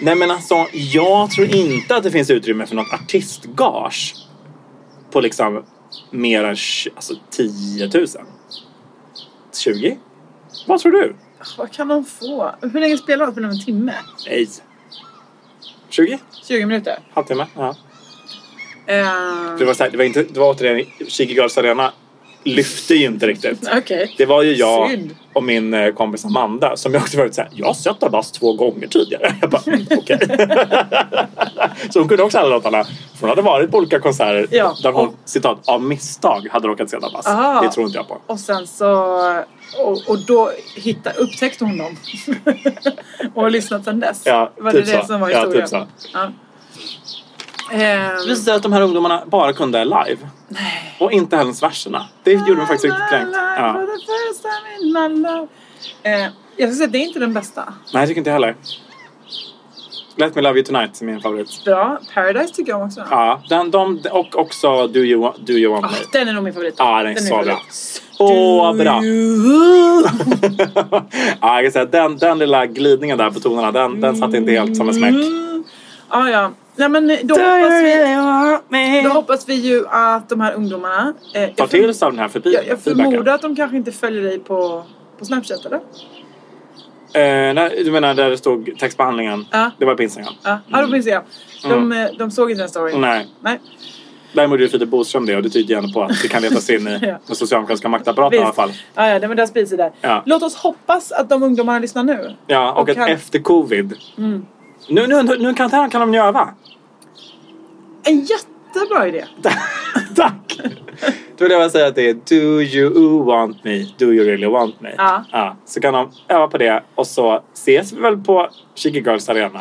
Nej men alltså, jag tror inte att det finns utrymme för något artistgage på liksom mer än tj- alltså 10 000. 20? Vad tror du?
Vad kan de få? Hur länge spelar de? Spelar de en timme?
Nej. 20?
20 minuter?
Halvtimme? Ja.
Eh,
Det var, så här, det var, inte, det var återigen, Cheeky Girls Arena lyfte ju inte riktigt.
Eh, Okej.
Det var ju jag
Synd.
och min eh, kompis Amanda som jag också varit såhär, jag har sett Abbas två gånger tidigare. Jag bara, mm, okej. [LAUGHS] så hon kunde också alla låtarna. För hon hade varit på olika konserter
Ja,
där hon,
och-
citat, av misstag hade råkat se Abbas.
Aha.
Det tror inte jag på.
Och sen så... Och, och då hitta, upptäckte hon dem. [LAUGHS] och har lyssnat sedan dess.
Ja,
var
typ
det det
så.
som var
Ja, typ
historien?
så.
Ja. Ehm,
Det visade sig att de här ungdomarna bara kunde live. Och inte ens verserna. Det gjorde mig faktiskt riktigt kränkt.
Ja.
Ja.
Eh, jag skulle säga att det är inte den bästa.
Nej, jag tycker inte jag heller. Let me love you tonight är min favorit.
Bra. Paradise tycker jag också.
Ja, den, de, och också Do you, wa- do you want
Ah,
me.
den är nog min favorit.
Ja, den är så bra. Åh,
Do
bra.
you-
[LAUGHS] ja, jag kan säga, den, den lilla glidningen där på tonerna, den, den satt inte helt som en smäck.
Mm. Ja, ja. Nej, men då hoppas, vi, då hoppas vi ju att de här ungdomarna... Eh, jag
Ta
för-
till sig av den här förbi-
Jag, jag förmodar
feedbacken.
att de kanske inte följer dig på, på Snapchat, eller?
Eh, nej, du menar där det stod textbehandlingen?
Ja.
Det var på Instagram?
Ja, ah, då finns det. ja. De, eh, de såg inte den storyn.
Mm. Nej.
Nej.
Däremot gjorde Filip Boström det och det tyder ju ändå på att det kan leta sig in i
[LAUGHS] Ja.
den socialdemokratiska maktapparaten i alla fall.
Ja, ja, nej, men där sprids det där.
Ja.
Låt oss hoppas att de ungdomarna lyssnar nu.
Ja, och,
Och Mm.
att
han-
efter covid. Nu, nu, nu, nu kan, kan de ju öva.
En jättebra idé.
[LAUGHS] Tack! Då vill jag bara säga att det är Do you want me? Do you really want me?
Ja.
så kan de öva på det och så ses vi väl på Chicky Girls Arena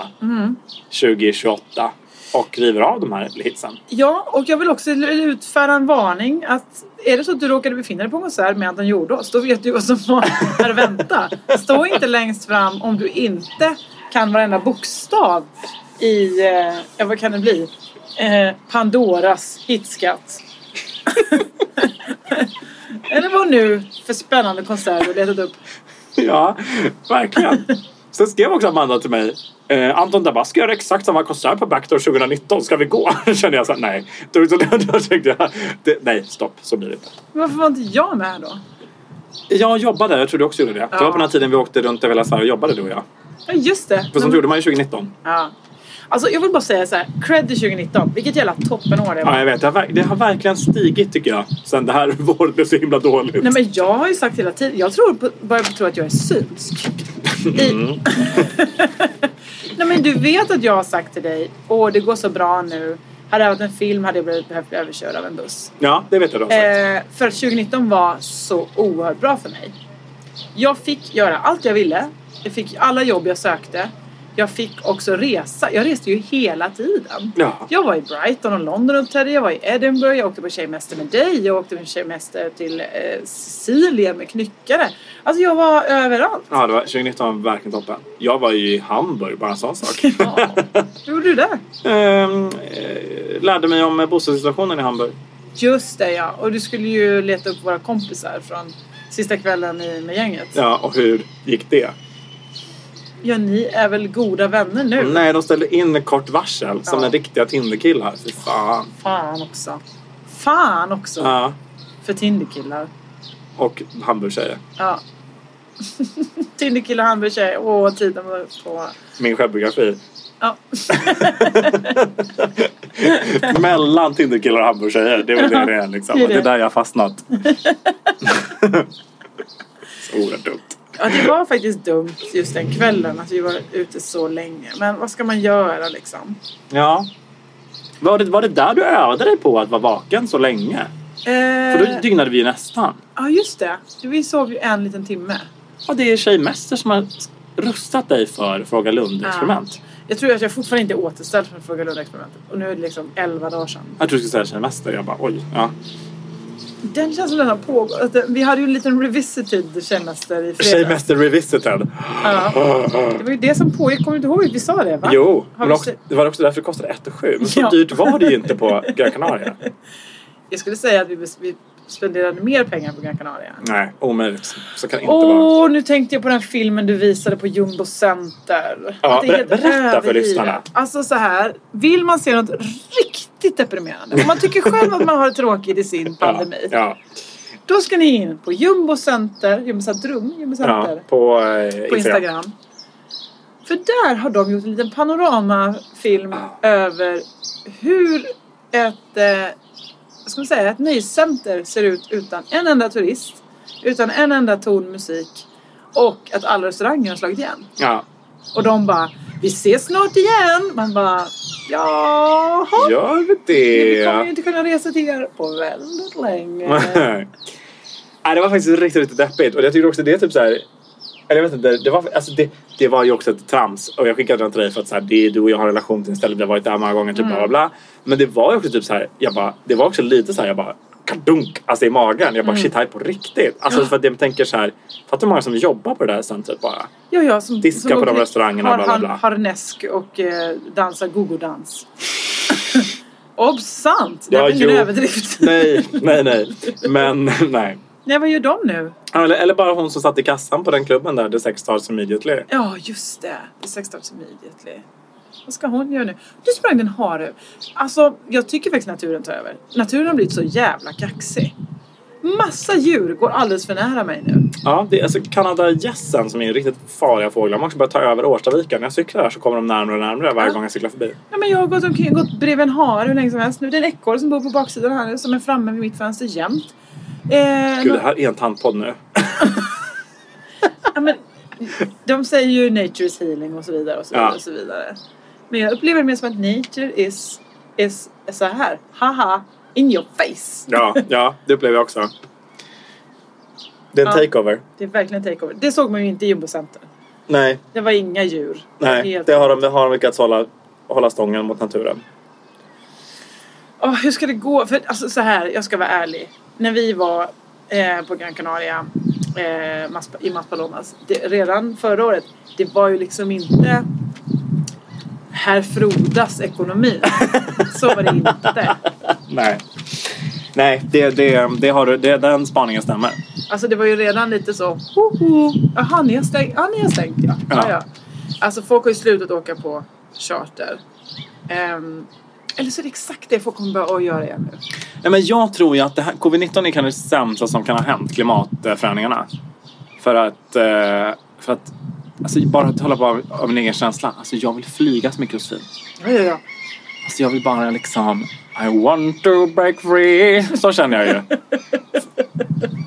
2028 och river av de här hitsen.
Ja, och jag vill också utfärda en varning att är det så att du råkade befinna dig på en konsert med Anton Jordås, då vet du vad som var att vänta. Stå inte längst fram om du inte kan varenda bokstav i, eh, ja vad kan det bli, eh, Pandoras hitskatt. [LAUGHS] Eller vad nu för spännande konsert du letat upp.
Ja, [LAUGHS] verkligen. Sen skrev också Amanda till mig. Eh, Anton Dabasco gör exakt samma konsert på Backdoor 2019. Ska vi gå? [LAUGHS] Då kände jag så här, nej. Då, då, då, [LAUGHS] då tänkte jag, det, nej, stopp. Så blir det inte.
Varför var inte jag med då?
Jag jobbade, jag tror du också gjorde det. Det var på den här tiden vi åkte runt över hela Sverige och jobbade du och jag.
Ja, just det.
För sånt gjorde man ju 2019.
Ja. Alltså, jag vill bara säga så här, cred till 2019. Vilket jävla toppenår det var.
Ja, jag vet. Det har, verk- det har verkligen stigit tycker jag. Sen det här [LAUGHS] våret blev så himla dåligt.
Nej men jag har ju sagt hela tiden, jag tror, på- börjar tro att jag är synsk. I... [LAUGHS] Nej men du vet att jag har sagt till dig, åh det går så bra nu. Hade det varit en film hade jag blivit, behövt bli överkörd av en buss.
Ja, det vet jag då.
Eh, för att 2019 var så oerhört bra för mig. Jag fick göra allt jag ville. Jag fick alla jobb jag sökte. Jag fick också resa. Jag reste ju hela tiden.
Ja.
Jag var i Brighton och London och uppträdde. Jag var i Edinburgh. Jag åkte på tjejmäster med dig. Jag åkte på tjejmäster till eh, Sicilien med knyckare. Alltså jag var överallt.
Ja, det var 2019 var verkligen toppen. Jag var ju i Hamburg, bara en sån sak.
Ja. Hur gjorde du det?
Ehm, eh, lärde mig om eh, bostadssituationen i Hamburg.
Just det ja. Och du skulle ju leta upp våra kompisar från sista kvällen i, med gänget. Ja.
Ja, och hur gick det?
ni är väl goda vänner nu?
Nej, de ställde in med kort varsel som
Ja.
den riktiga Tinderkillar. Fy fan.
Fan också. Fan också.
Ja,
För Tinderkillar.
och Hamburgtjejer.
Ja. [LAUGHS] Tinderkillar, hamburgertjej. Åh, tiden var på.
Min självbiografi.
Ja.
Mellan Tinderkillar och Hamburgtjejer. Det är väl det det
[LAUGHS]
är liksom.
Det är
Det
det.
är där jag
[LAUGHS]
har fastnat. Så oerhört dumt.
ja, det var faktiskt dumt just den kvällen att vi var ute så länge. Men vad ska man göra liksom?
Ja. Var det, var det där du övade dig på att vara vaken så länge? För då
Eh,
dygnade vi ju nästan.
ja, just det. Vi sov ju en liten timme.
Och det är Tjejmäster som har rustat dig för Fråga Lund-experiment.
Jag tror att jag fortfarande inte är återställd från Fråga Lund-experimentet. Och nu är det liksom 11 dagar sedan.
Jag tror du skulle säga Tjejmäster. Jag bara oj. Ja.
Den känns som den har pågått. att den- Vi hade ju en liten revisited tjejmäster i fredags.
Tjejmäster revisited.
Ja. Det var ju det som pågick. Kommer du inte ihåg att vi sa det? Va?
Jo,
Har
men
vi
också,
se-
det var också därför det kostade 1 7. Men så
Ja.
dyrt var det ju inte på Gran Canaria.
Jag skulle säga att vi, bes- vi spenderade mer pengar på Gran Canaria.
Nej, omöjligt. Så kan det Mm, inte vara.
Åh, nu tänkte jag på den filmen du visade på Jumbo Center.
Ja,
Att det är
ber-
helt
berätta för
övergivet.
lyssnarna.
Alltså så här, vill man se något riktigt deprimerande, om man tycker själv att man har det tråkigt i sin pandemi,
Ja,
då ska ni in på Jumbo Center, Jumbo Centrum, Jumbo
ja,
Center
ja, på, eh,
på Instagram. För där har de gjort en liten panoramafilm över hur ett, eh, vad ska man säga, ett nöjescenter ser ut utan en enda turist, utan en enda ton musik och att alla restauranger har slagit igen.
Ja.
Och de bara, vi ses snart igen! Man bara, jaha!
Gör vi
Vi
det?
kommer ju inte kunna resa till er på väldigt
[LAUGHS]
länge.
Nej, det var faktiskt riktigt, riktigt deppigt. Och jag tyckte också det är typ så här... Eller jag vet inte, det var, alltså det, det var ju också ett trams. Och jag skickade den till dig för att så här, det är du och jag har en relation till en ställe. Vi har varit där många gånger, typ bla
Mm.
bla bla. Men det var ju också typ så här, jag bara, det var också lite så här, jag bara kadunk, alltså i magen. Jag bara
Mm.
shit, här är på riktigt. Alltså för att jag tänker så här, fattar hur många som jobbar på det där centret bara.
Ja, ja, som,
Diska
som
på de
åker-
restaurangerna,
har
bla, bla, bla.
har- harnesk och eh, dansar gogodans. [LAUGHS] Obsant! Det
Ja,
var ingen
jo.
överdrift.
Nej, nej, nej. Men [LAUGHS] nej.
[LAUGHS] Nej, vad gör de nu?
Eller, eller bara hon som satt i kassan på den klubben där, The Sex Stars Immediately.
Ja, just det. Det är Sexstarts immediately. Vad ska hon göra nu? Du sprang den hare. Alltså, jag tycker faktiskt naturen tar över. Naturen har blivit så jävla kaxig. Massa djur går alldeles för nära mig nu.
Ja, det är alltså kanadagässen som är riktigt farliga fåglar. Man också börjar ta över Årstaviken. När jag cyklar där så kommer de närmare och närmare varje gång jag cyklar förbi.
Ja, men jag har gått, omkring, gått bredvid en hare hur länge som helst nu. Det är en ekorre som bor på baksidan här nu som är framme vid mitt fönster jämt. Eh,
Gud, det här är en tandpodd nu.
Ja, men, de säger ju nature is healing och så vidare och så vidare.
Ja.
Och så vidare. Men jag upplever det mer som att nature is, is så här. Haha, in your face.
Ja, ja, det upplever jag också. Det är en
Ja.
takeover.
Det är verkligen takeover. Det såg man ju inte i Jumbo Center.
Nej,
Det var inga djur.
nej.
Helt-
Det har de, det har de lyckats hålla, hålla stången mot naturen.
Åh, hur ska det gå? För alltså, så här, jag ska vara ärlig. När vi var eh, på Gran Canaria eh, Mas- i Maspalomas det, redan förra året. Det var ju liksom inte Herr Frodas
[LAUGHS]
ekonomi. Så var det inte.
Nej. Nej, det, det, det har, du- det, den spaningen stämmer.
Alltså det var ju redan lite så. Hoho, aha, ni har stängt. Ja, ni har stängt ja. ja.
Ja.
ja. Alltså folk har ju slutat åka på charter. Ehm, eller så är det exakt det folk kommer börja göra igen nu.
Nej, men jag tror ju att det här, covid-19 är kanske det sämsta som kan ha hänt klimatförändringarna. För att, eh, för att alltså, bara att hålla på av, av min egen känsla. Alltså, jag vill flyga så mycket Josefin.
Ja, ja, ja.
Alltså, jag vill bara liksom I want to break free. Så känner jag ju.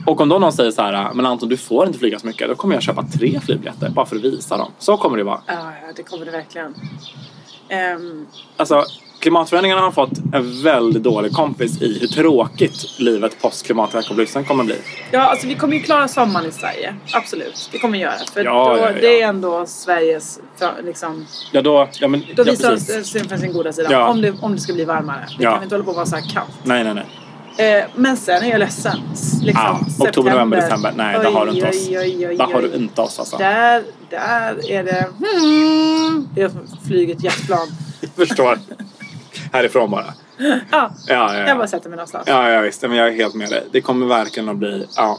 Och om då någon säger så här, men Anton du får inte flyga så mycket. Då kommer jag köpa tre flygbiljetter bara för att visa dem. Så kommer det vara.
Ja, ja, det kommer det verkligen. Ehm,
Alltså, klimatförändringarna har fått en väldigt dålig kompis i hur tråkigt livet post klimatrevolutionen kommer bli.
ja, alltså vi kommer ju klara sommaren i Sverige. Absolut, det kommer vi göra. För
Ja,
då,
ja, ja.
det är ändå Sveriges, för- liksom,
Ja, då, ja, men,
då
ja,
visar eh,
precis.
sig sin, för sin goda sida.
Ja.
Om, det, om det ska bli varmare. Vi
Ja.
kan inte hålla på och vara så här kallt.
Nej, nej, nej.
Eh, men sen är jag ledsen. S- Liksom,
Ah, oktober, november, december. Nej, där har du inte oss.
Oj, oj, oj,
Där har du
oj.
inte oss alltså.
Där, där är det... Hmm, det är som att flyga ett jetplan.
Jag förstår. Härifrån bara.
Ja,
Ja, ja,
jag bara
ja.
sätter mig någonstans.
Ja, ja, visst. Men jag är helt med dig. Det kommer verkligen att bli... Ja.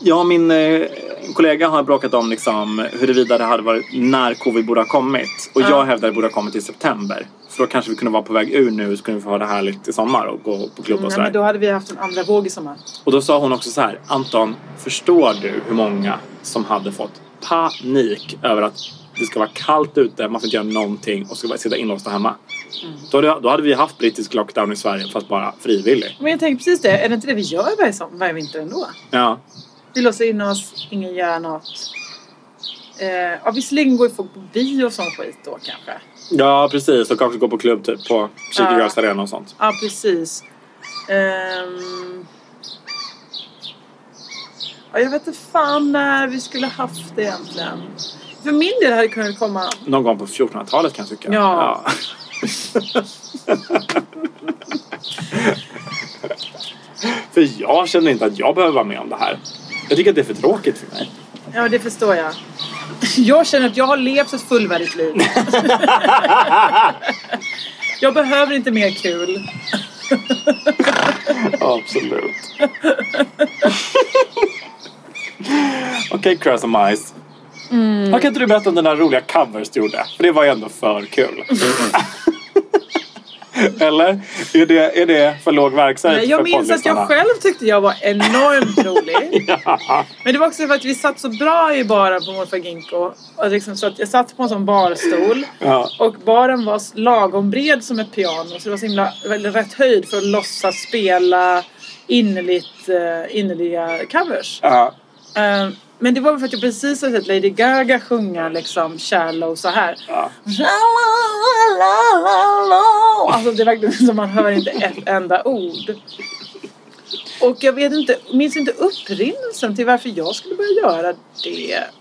Jag och min eh, kollega har bråkat om liksom, huruvida det hade varit när covid borde ha kommit. Och jag hävdar att det borde ha kommit i september. För då kanske vi kunde vara på väg ur nu så kunde vi få ha det härligt i sommar och gå på klubb och
Nej, Mm,
sådär.
men då hade vi haft en andra våg i sommar.
Och då sa hon också så här, Anton, förstår du hur många som hade fått panik över att det ska vara kallt ute, man får inte göra någonting och ska bara sitta inlåsta hemma. Då, hade, då hade vi haft brittisk lockdown i Sverige fast bara frivillig.
Men jag tänker precis det. Är det inte det vi gör varje, som, varje vinter ändå?
Ja,
Vi låser in oss, ingen gör något. Eh, ja, visserligen går ju folk på bio och sån skit då kanske.
ja precis. Och kanske gå på klubb typ på Kyrkogårds arena och sånt.
Ja, precis. Ehm. Ja, jag vet inte fan när vi skulle haft det egentligen. För min del hade det kunnat komma...
Någon gång på 1400-talet kan jag tycka.
Ja.
ja. för jag känner inte att jag behöver vara med om det här. Jag tycker att det är för tråkigt för mig.
Ja, det förstår jag. [LAUGHS] Jag känner att jag har levt ett fullvärdigt liv. jag behöver inte mer kul.
Absolut. [LAUGHS] Okej, Crash and Mice.
Mm.
Har kan inte du berätta om den där roliga covers du gjorde? För det var ju ändå för
Mm.
kul. [LAUGHS] Eller? Är det, är det för låg verksamhet
Nej,
för
jag minns att jag
poddlyssnarna?
själv tyckte jag var
[LAUGHS]
enormt rolig. Men det var också för att vi satt så bra i baren på morfar Ginko. Och liksom, så att jag satt på en sån barstol.
Ja.
Och baren var s- lagom bred som ett piano. Så det var så himla, eller rätt höjd för att låtsas spela innerligt, eh, innerliga covers.
Ja.
Eh, men det var väl för att jag precis hade sett Lady Gaga sjunga liksom shallow så här.
Ja.
Alltså det är verkligen som man hör inte ett enda ord. Och jag vet inte, minns inte upprinnelsen till varför jag skulle börja göra det.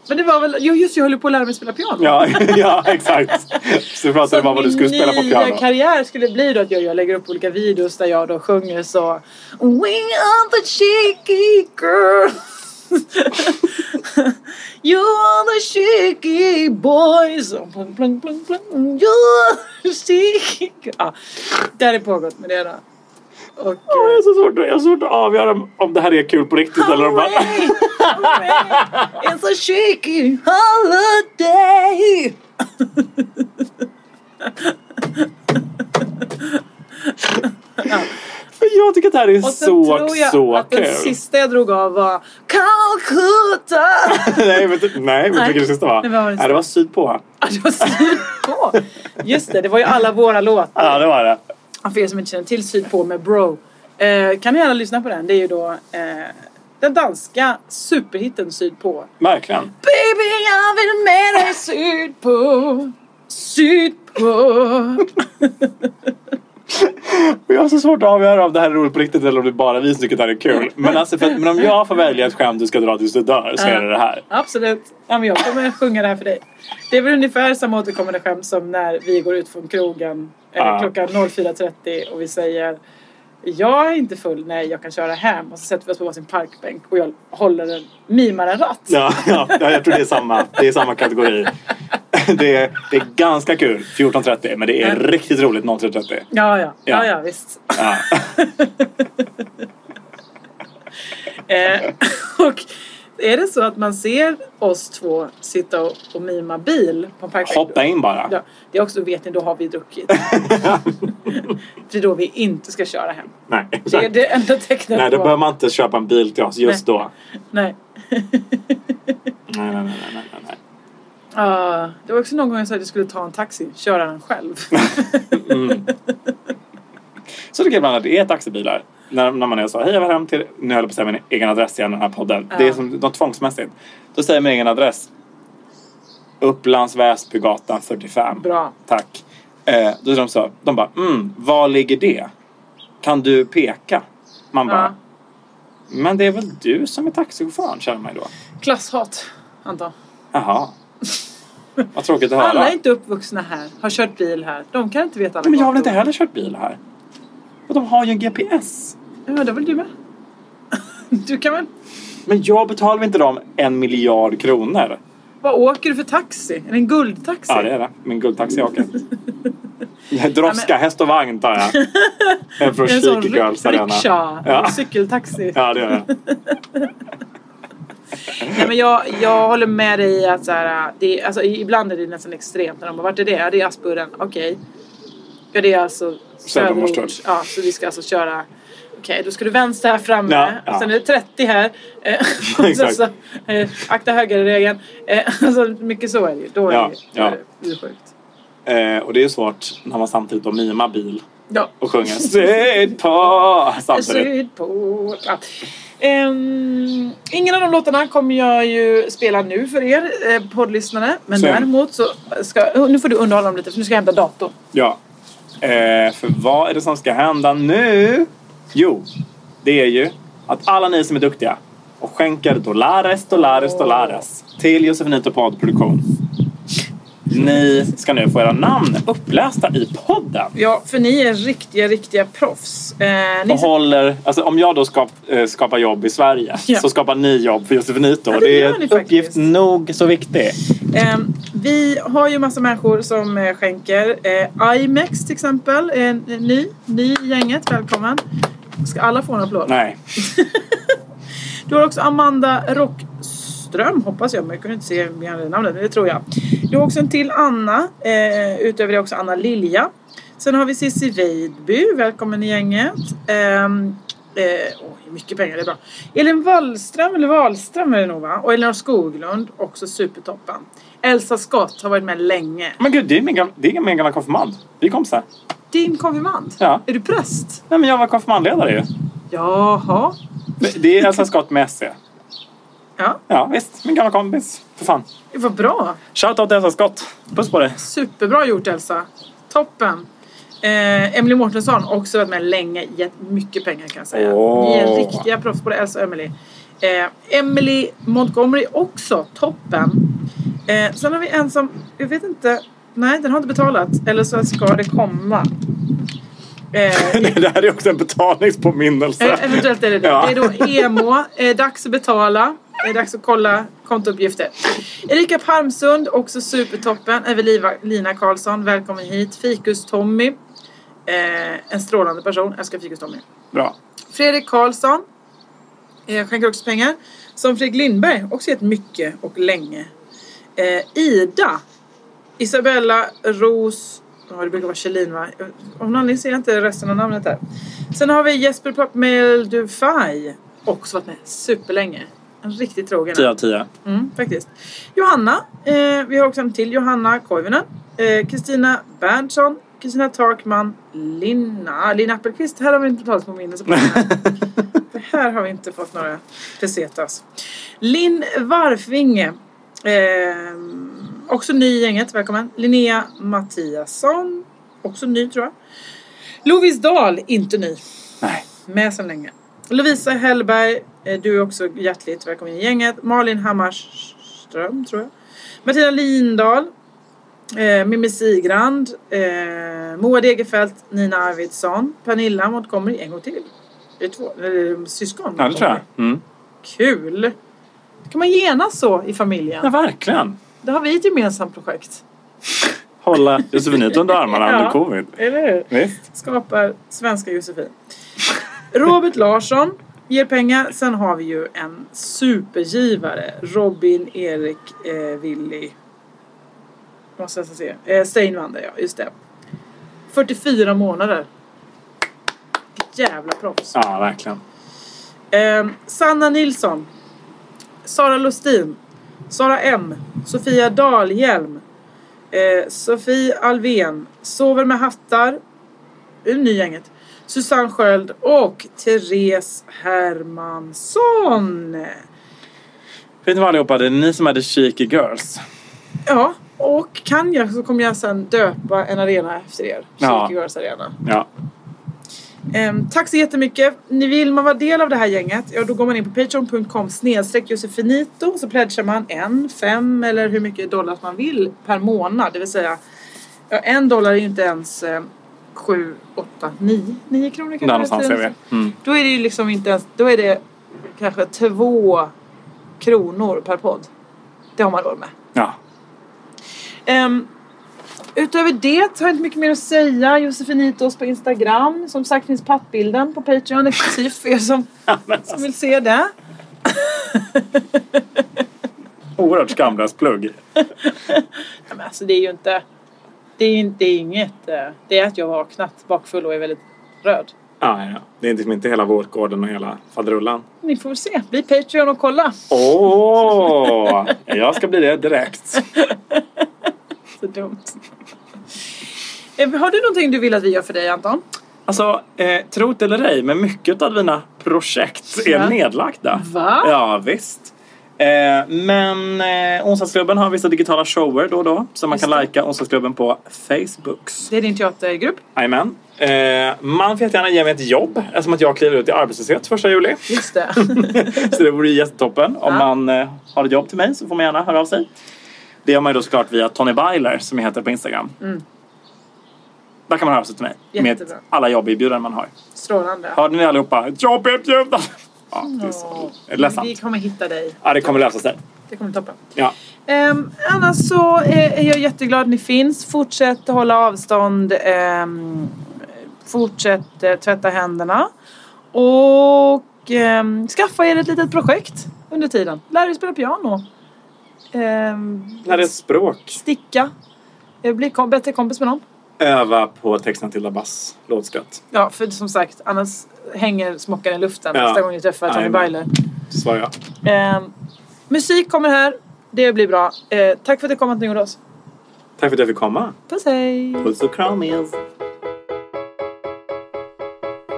Men det var väl, jo just det, jag höll på att lära mig spela piano.
Ja, [LAUGHS] ja, exakt. Så du pratade
Så
bara om vad du skulle spela på
min nya
piano.
karriär skulle bli då att jag, jag lägger upp olika videos där jag då sjunger så We are the cheeky girls You are the cheeky boys plung, plung, plung, plung. You are the cheeky girls ja, Det hade pågått med det då. Och, eh,
Ja, Jag har, så svårt, jag har svårt att avgöra om- om det här är kul på riktigt eller om bara...
Hooray! Hooray! It's a cheeky holiday!
[LAUGHS] För jag tycker att det här är
Och sen
så,
tror jag
så
att den
kul.
sista jag drog av var
[LAUGHS]
Calcutta!
nej, vet du, nej, vet du vilken det sista var?
det var det
Nej, det var syd på.
Ja, det var Syd på. Just det, det var ju alla våra låtar.
Ja, det var det.
Och För er som inte känner till Syd på med Bro. Eh, kan ni gärna lyssna på den. Det är ju då eh, den danska superhitten Syd på.
Verkligen.
Baby jag vill med dig syd på. Syd på.
Och jag har så svårt att avgöra om det här är roligt på riktigt eller om det bara vi som tycker att det här är kul. Men, alltså, för att, men om jag får välja ett skämt du ska dra tills du dör så är det det här.
Absolut. Ja, men jag kommer att sjunga det här för dig. Det är väl ungefär samma återkommande skämt som när vi går ut från krogen eh,
Ja.
klockan 04.30 och vi säger jag är inte full, nej jag kan köra hem. Och så sätter vi oss på varsin parkbänk och jag håller en, mimar en ratt.
Ja, ja, ja, jag tror det är samma, det är samma kategori. Det är, det är ganska kul 14.30 men det är riktigt roligt 03.30.
Ja, ja, ja,
Ja.
ja visst.
Ja.
[LAUGHS] Eh, och är det så att man ser oss två sitta och, och mima bil på en parkbänk.
Hoppa in bara.
Ja, det är också, vet ni, då har vi
[LAUGHS]
druckit. det är då vi inte ska köra hem.
Nej,
Det är
exakt.
det enda tecknet
Nej, då
på-
behöver man inte köpa en bil till oss just då.
Nej. [LAUGHS]
Nej, nej, nej, nej, nej, nej.
Ja, det var också någon gång jag sa att jag skulle ta en taxi, köra den
[LAUGHS]
själv.
Så tycker jag ibland att det är taxibilar. När, när man är så, hej jag vill hem till... Nu höll jag på att säga min egen adress igen i den här podden. Det är som något tvångsmässigt. Då säger jag min egen adress. Upplands Väsbygatan 45.
Bra.
Tack. Eh, då är de så, de bara, mm, var ligger det? Kan du peka? Man bara,
Ja.
men det är väl du som är taxichauffören känner man ju då.
Klasshat, antar
Jaha. Vad tråkigt att höra.
Alla är inte uppvuxna här, har kört bil här. De kan inte veta alla
Nej, men jag har väl
gator.
inte heller kört bil här? Och de har ju en GPS.
Ja, men det var väl du med? [LAUGHS] Du kan väl...
Men jag betalar väl inte dem en miljard kronor?
Vad åker du för taxi? Är det en guldtaxi?
Ja, det är det. Min guldtaxi jag
[LAUGHS]
åker. Jag Droska, häst och vagn tar jag. En från
Det är en sån
Chic Girls
ri-
Arena.
riksha,
Ja.
en cykeltaxi.
ja, det gör jag.
Nej, men jag, jag håller med dig i att så här, det, är- alltså, i- ibland är det nästan extremt när de bara, vart är det? Ja, det är Aspudden. Okej. Ja, det är alltså
Söder om
söderort.
Årstad.
Ja, så vi ska alltså köra. Okej, då ska du vänster här framme.
Ja, ja.
Och sen är det 30 här. Eh, [LAUGHS] och sen
[LAUGHS] Exakt.
så, eh, akta högerregeln. Eh, [LAUGHS] alltså, mycket så är det ju. Då är
Ja,
det då är
ja.
det ju sjukt.
Eh, och det är ju svårt när man samtidigt då mimar bil
Ja.
och
[LAUGHS]
sjunger Sitt på samtidigt.
Sydpol. Alltså, Ja. Ehm, ingen av de låtarna kommer jag ju spela nu för er eh, poddlyssnare. Men
Sen.
däremot så ska... oh, Nu får du underhålla dem lite för nu ska jag hämta datorn.
Ja. Eh, för vad är det som ska hända nu? Jo, det är ju att alla ni som är duktiga och skänker dollares, dollares, dollares till Josefinito Podd Produktion. Ni ska nu få era namn upplästa i podden.
Ja, för ni är riktiga, riktiga proffs. Eh, ni
Och håller, alltså om jag då skap, eh, skapar jobb i Sverige
Ja.
så skapar ni jobb för Josefinito.
Ja, det
det
gör
är
ni
en
faktiskt.
uppgift nog så viktig.
Ehm, vi har ju massa människor som eh, skänker. Eh, IMEX till exempel är en- en ny, ny i gänget. Välkommen. Ska alla få en applåd?
Nej.
Du har också Amanda Rockström, hoppas jag, men jag kunde inte se mer namnet, men det tror jag. Du har också en till Anna, eh, utöver det också Anna Lilja. Sen har vi Cissi Weidby, välkommen i gänget. Ehm, eh, oj, mycket pengar, det är bra. Elin Wallström, eller Wahlström är det nog va? Och Elinor Skoglund, också supertoppen. Elsa Skott har varit med länge.
Men gud, det är min gamla, det är min gamla konfirmand. Vi är kompisar.
Din konfirmand?
Ja.
Är du präst?
Nej men jag var konfirmandledare ju.
Jaha.
Det- Det är Elsa Skott med SC.
Ja,
Ja visst, min gamla kompis. För fan.
det var bra.
Shoutout till Elsa Skott. Puss på dig. [LAUGHS]
Superbra gjort Elsa. Toppen. Eh, Emily Mårtensson har också varit med länge. Gett mycket pengar kan jag säga.
Åh.
Ni är riktiga proffs både Elsa och Emily. Eh, Emily Montgomery också. Toppen. Eh, sen har vi en som, jag vet inte. Nej, den har inte betalat. Eller så ska det komma. Eh,
Nej, det här är också en betalningspåminnelse.
Eh, Eventuellt är det det.
Ja.
Det är då emo. Eh, dags att betala. Eh, dags att kolla kontouppgifter. Erika Palmsund, också supertoppen. Evelina Karlsson, välkommen hit. Fikus-Tommy. Eh, en strålande person. Älskar Fikus-Tommy.
Bra.
Fredrik Karlsson eh, skänker också pengar. Som Fredrik Lindberg, också gett mycket och länge. Eh, Ida. Isabella Ros... Ja, det brukar vara Kjellin va? Jag- Av någon anledning ser jag inte resten av namnet här. Sen har vi Jesper Pappmel Dufay. Också varit med superlänge. En riktigt trogen.
10 av 10.
Mm, faktiskt. Johanna. Eh, vi har också en till Johanna Koivunen. Eh, Kristina Berntsson. Kristina Takman. Linna. Lina Appelqvist. Här har vi inte betalningspåminnelse på den här. Det här har vi inte fått några pesetas. Linn Varfvinge. Eh, också ny i gänget. Välkommen. Linnea Mattiasson. Också ny tror jag. Lovisdal, inte ny.
Nej.
Med sedan länge. Lovisa Hellberg, eh, du är också hjärtligt välkommen i gänget. Malin Hammarström, tror jag. Martina Lindahl. Eh, Mimmi Sigrand. Eh, Moa Degerfeld, Nina Arvidsson. Pernilla Montgomery, en gång till. Det är två, eller eh, syskon.
Ja, det tror jag. Mm.
Kul! Kan man genast så i
Ja,
familjen?
verkligen.
Det har vi ett gemensamt projekt.
Hålla Josefinito under [LAUGHS] armarna
Ja.
under covid.
Eller hur?
Visst.
skapar svenska Josefin. Robert Larsson ger pengar. Sen har vi ju en supergivare. Robin, Erik, eh, Willy. Måste jag se. Eh, Steinwander, ja. Just det. 44 månader. Vilket jävla proffs.
Ja, verkligen.
Eh, Sanna Nilsson. Sara Lustin. Sara M. Sofia Dahlhjelm. Eh, Sofie Alven. Sover med hattar. Det är ny gänget. Susanne Sköld och Therese Hermansson.
Vet ni vad allihopa? Det är ni som är the cheeky girls.
Ja, och kan jag så kommer jag sen döpa en arena efter er.
Ja.
Kyrkogårdens arena.
Ja.
Ehm, tack så jättemycket. Ni vill man vara del av det här gänget, ja då går man in på patreon.com snedstreck josefinito så pledgar man en, fem eller hur mycket dollar man vill per månad. Det vill säga, ja, en dollar är ju inte ens eh, sju, åtta, nio, nio kronor kanske.
Där någonstans är
Eller
vi.
så.
Mm.
Då är det ju liksom inte ens, då är det kanske två kronor per podd. Det har man råd med.
Ja.
Ehm, utöver det har jag inte mycket mer att säga. Josefinitos på Instagram. Som sagt finns pappbilden på Patreon exklusivt för er
[LAUGHS]
som,
alltså.
som vill se det.
Oerhört skamlös plugg.
Ja, men alltså det är ju inte... Det är, inte- det är inget... eh, Det är att jag har vaknat bakfull och är väldigt röd.
Ja, ja. Det är liksom inte hela vårtgården och hela faderullan.
Ni får väl se. Bli Patreon och kolla.
Åh! jag ska bli det direkt.
Så dumt. [LAUGHS] Eh, Har du någonting du vill att vi gör för dig Anton?
Alltså, eh, trot eller ej, men mycket av mina projekt är
Ja.
nedlagda.
Va?
Ja, visst. Eh, men eh, Onsdagsklubben har vissa digitala shower då och då. Så man
Just
kan
det.
lajka Onsdagsklubben på Facebooks.
Det är din teatergrupp.
Jajamän. Eh, man får jättegärna ge mig ett jobb eftersom att jag kliver ut i arbetslöshet första juli.
Just
[LAUGHS]
det.
så det vore ju jättetoppen. Om
Ja.
man eh, har ett jobb till mig så får man gärna höra av sig. Det gör man ju då såklart via Tony Byler som jag heter på Instagram. Där kan man höra av sig till mig.
Mm. Jättebra.
Med alla jobberbjudanden man har.
Strålande.
Hörde ni allihopa? Jobberbjudanden! [LAUGHS] Ja,
Mm.
det är så
Vi
ledsamt.
kommer hitta dig.
Ja, det kommer lösa sig.
Det kommer toppen.
Ja.
Um, annars så eh, är jag jätteglad att ni finns. Fortsätt hålla avstånd. ehm, fortsätt eh, tvätta händerna. Och ehm, skaffa er ett litet projekt under tiden. Lär er spela piano. Ehm,
När det är språk.
sticka. Eh, Bli kom- bättre kompis med någon.
Öva på texten till Bass låtskatt.
Ja, för som sagt, annars hänger smockan i luften
Ja.
nästa gång ni träffar Tony
Jajamän.
Byler.
Så svarar jag.
Ehm, musik kommer här. Det blir bra. Eh, tack för att du kom Anton Jordås.
Tack för att jag fick komma.
Puss hej!
Puss och kram igen.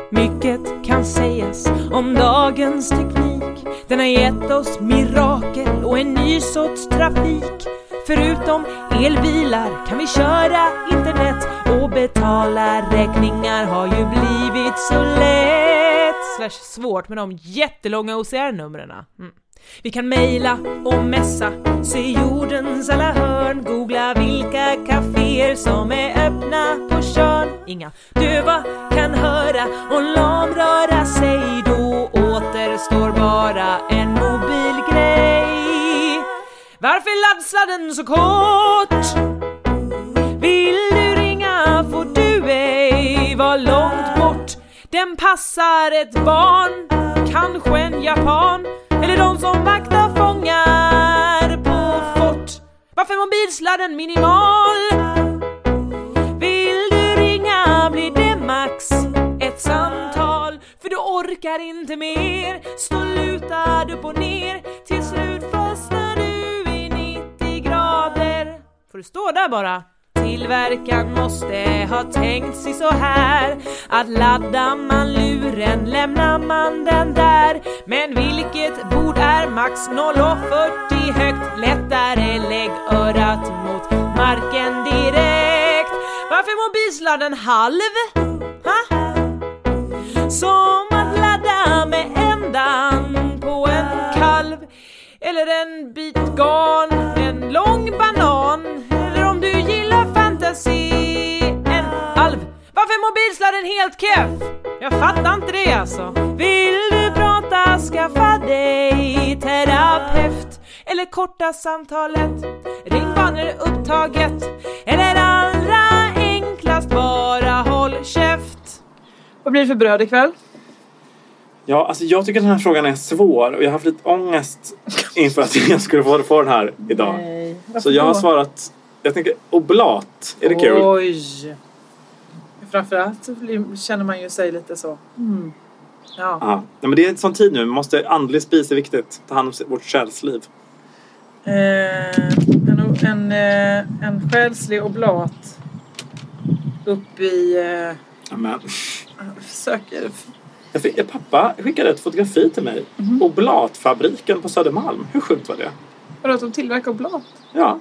Mycket kan sägas om dagens teknik. Den har gett oss mirakel och en ny sorts trafik. Förutom elbilar kan vi köra internet och betala räkningar har ju blivit så lätt. Slash svårt med de jättelånga OCR-numren. Mm. Vi kan mejla och messa, se jordens alla hörn, googla vilka kaféer som är öppna på Tjörn. Inga döva kan höra och lamröra sig, då återstår bara en mobilgrej. Varför laddar den så kort? Vill du ringa får du ej vara långt bort Den passar ett barn, kanske en japan Eller de som vaktar fångar på fort Varför är mobilsladden minimal? Vill du ringa blir det max ett samtal För du orkar inte mer Stå lutad upp och ner Till slut fastnar du i 90 grader Får du stå där bara? Tillverkaren måste ha tänkt sig så här Att laddar man luren lämnar man den där Men vilket bord är max 0,40 högt? Lättare lägg örat mot marken direkt Varför är mobilsladden halv? Ha? Som att ladda med ändan på en kalv eller en bit garn, en lång banan eller om du gillar fantasy, en alv. Varför är mobilsladden helt keff? Jag fattar inte det alltså. Vill du prata, skaffa dig terapeut eller korta samtalet. Ring bara när det är upptaget. Eller allra enklast, bara håll käft.
Vad blir det för bröd ikväll?
Ja, alltså jag tycker att den här frågan är svår och jag har haft lite ångest inför att jag skulle få, få den här idag. Så jag har svarat, jag tänker oblat, är det kul?
Oj! Framförallt så blir- känner man ju sig lite så. Mm. Ja.
Ja. Nej, men det är en sån tid nu, man måste andlig spis är viktigt. Ta hand om vårt själsliv.
Eh, en, en, eh, en själslig oblat upp i... Eh,
Amen.
söker...
Jag fick, eh, pappa skickade ett fotografi till mig.
Mhm.
Oblatfabriken på Södermalm. Hur sjukt var det?
Vadå, att de tillverkar oblat?
Ja,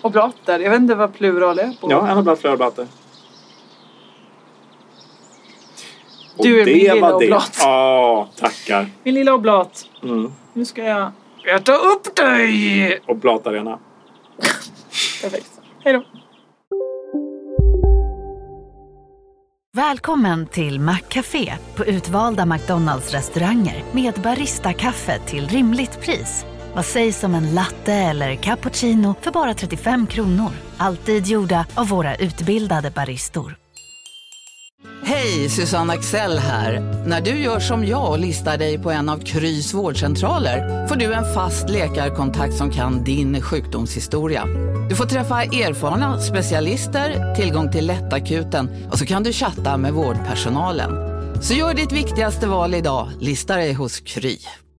Oblater? Jag vet inte vad plural är på.
ja en oblat, flera oblater. Och
Du är min lilla
var det.
oblat.
Ja, tackar.
Min lilla oblat.
Mm.
Nu ska jag äta upp dig!
Oblatarena.
Perfekt. Hej då.
Välkommen till Maccafé på utvalda McDonalds restauranger med Baristakaffe till rimligt pris. Vad sägs om en latte eller cappuccino för bara 35 kronor? Alltid gjorda av våra utbildade baristor.
Hej, Susanne Axel här. När du gör som jag och listar dig på en av Krys vårdcentraler får du en fast läkarkontakt som kan din sjukdomshistoria. Du får träffa erfarna specialister, tillgång till lättakuten och så kan du chatta med vårdpersonalen. Så gör ditt viktigaste val idag, listar dig hos Kry.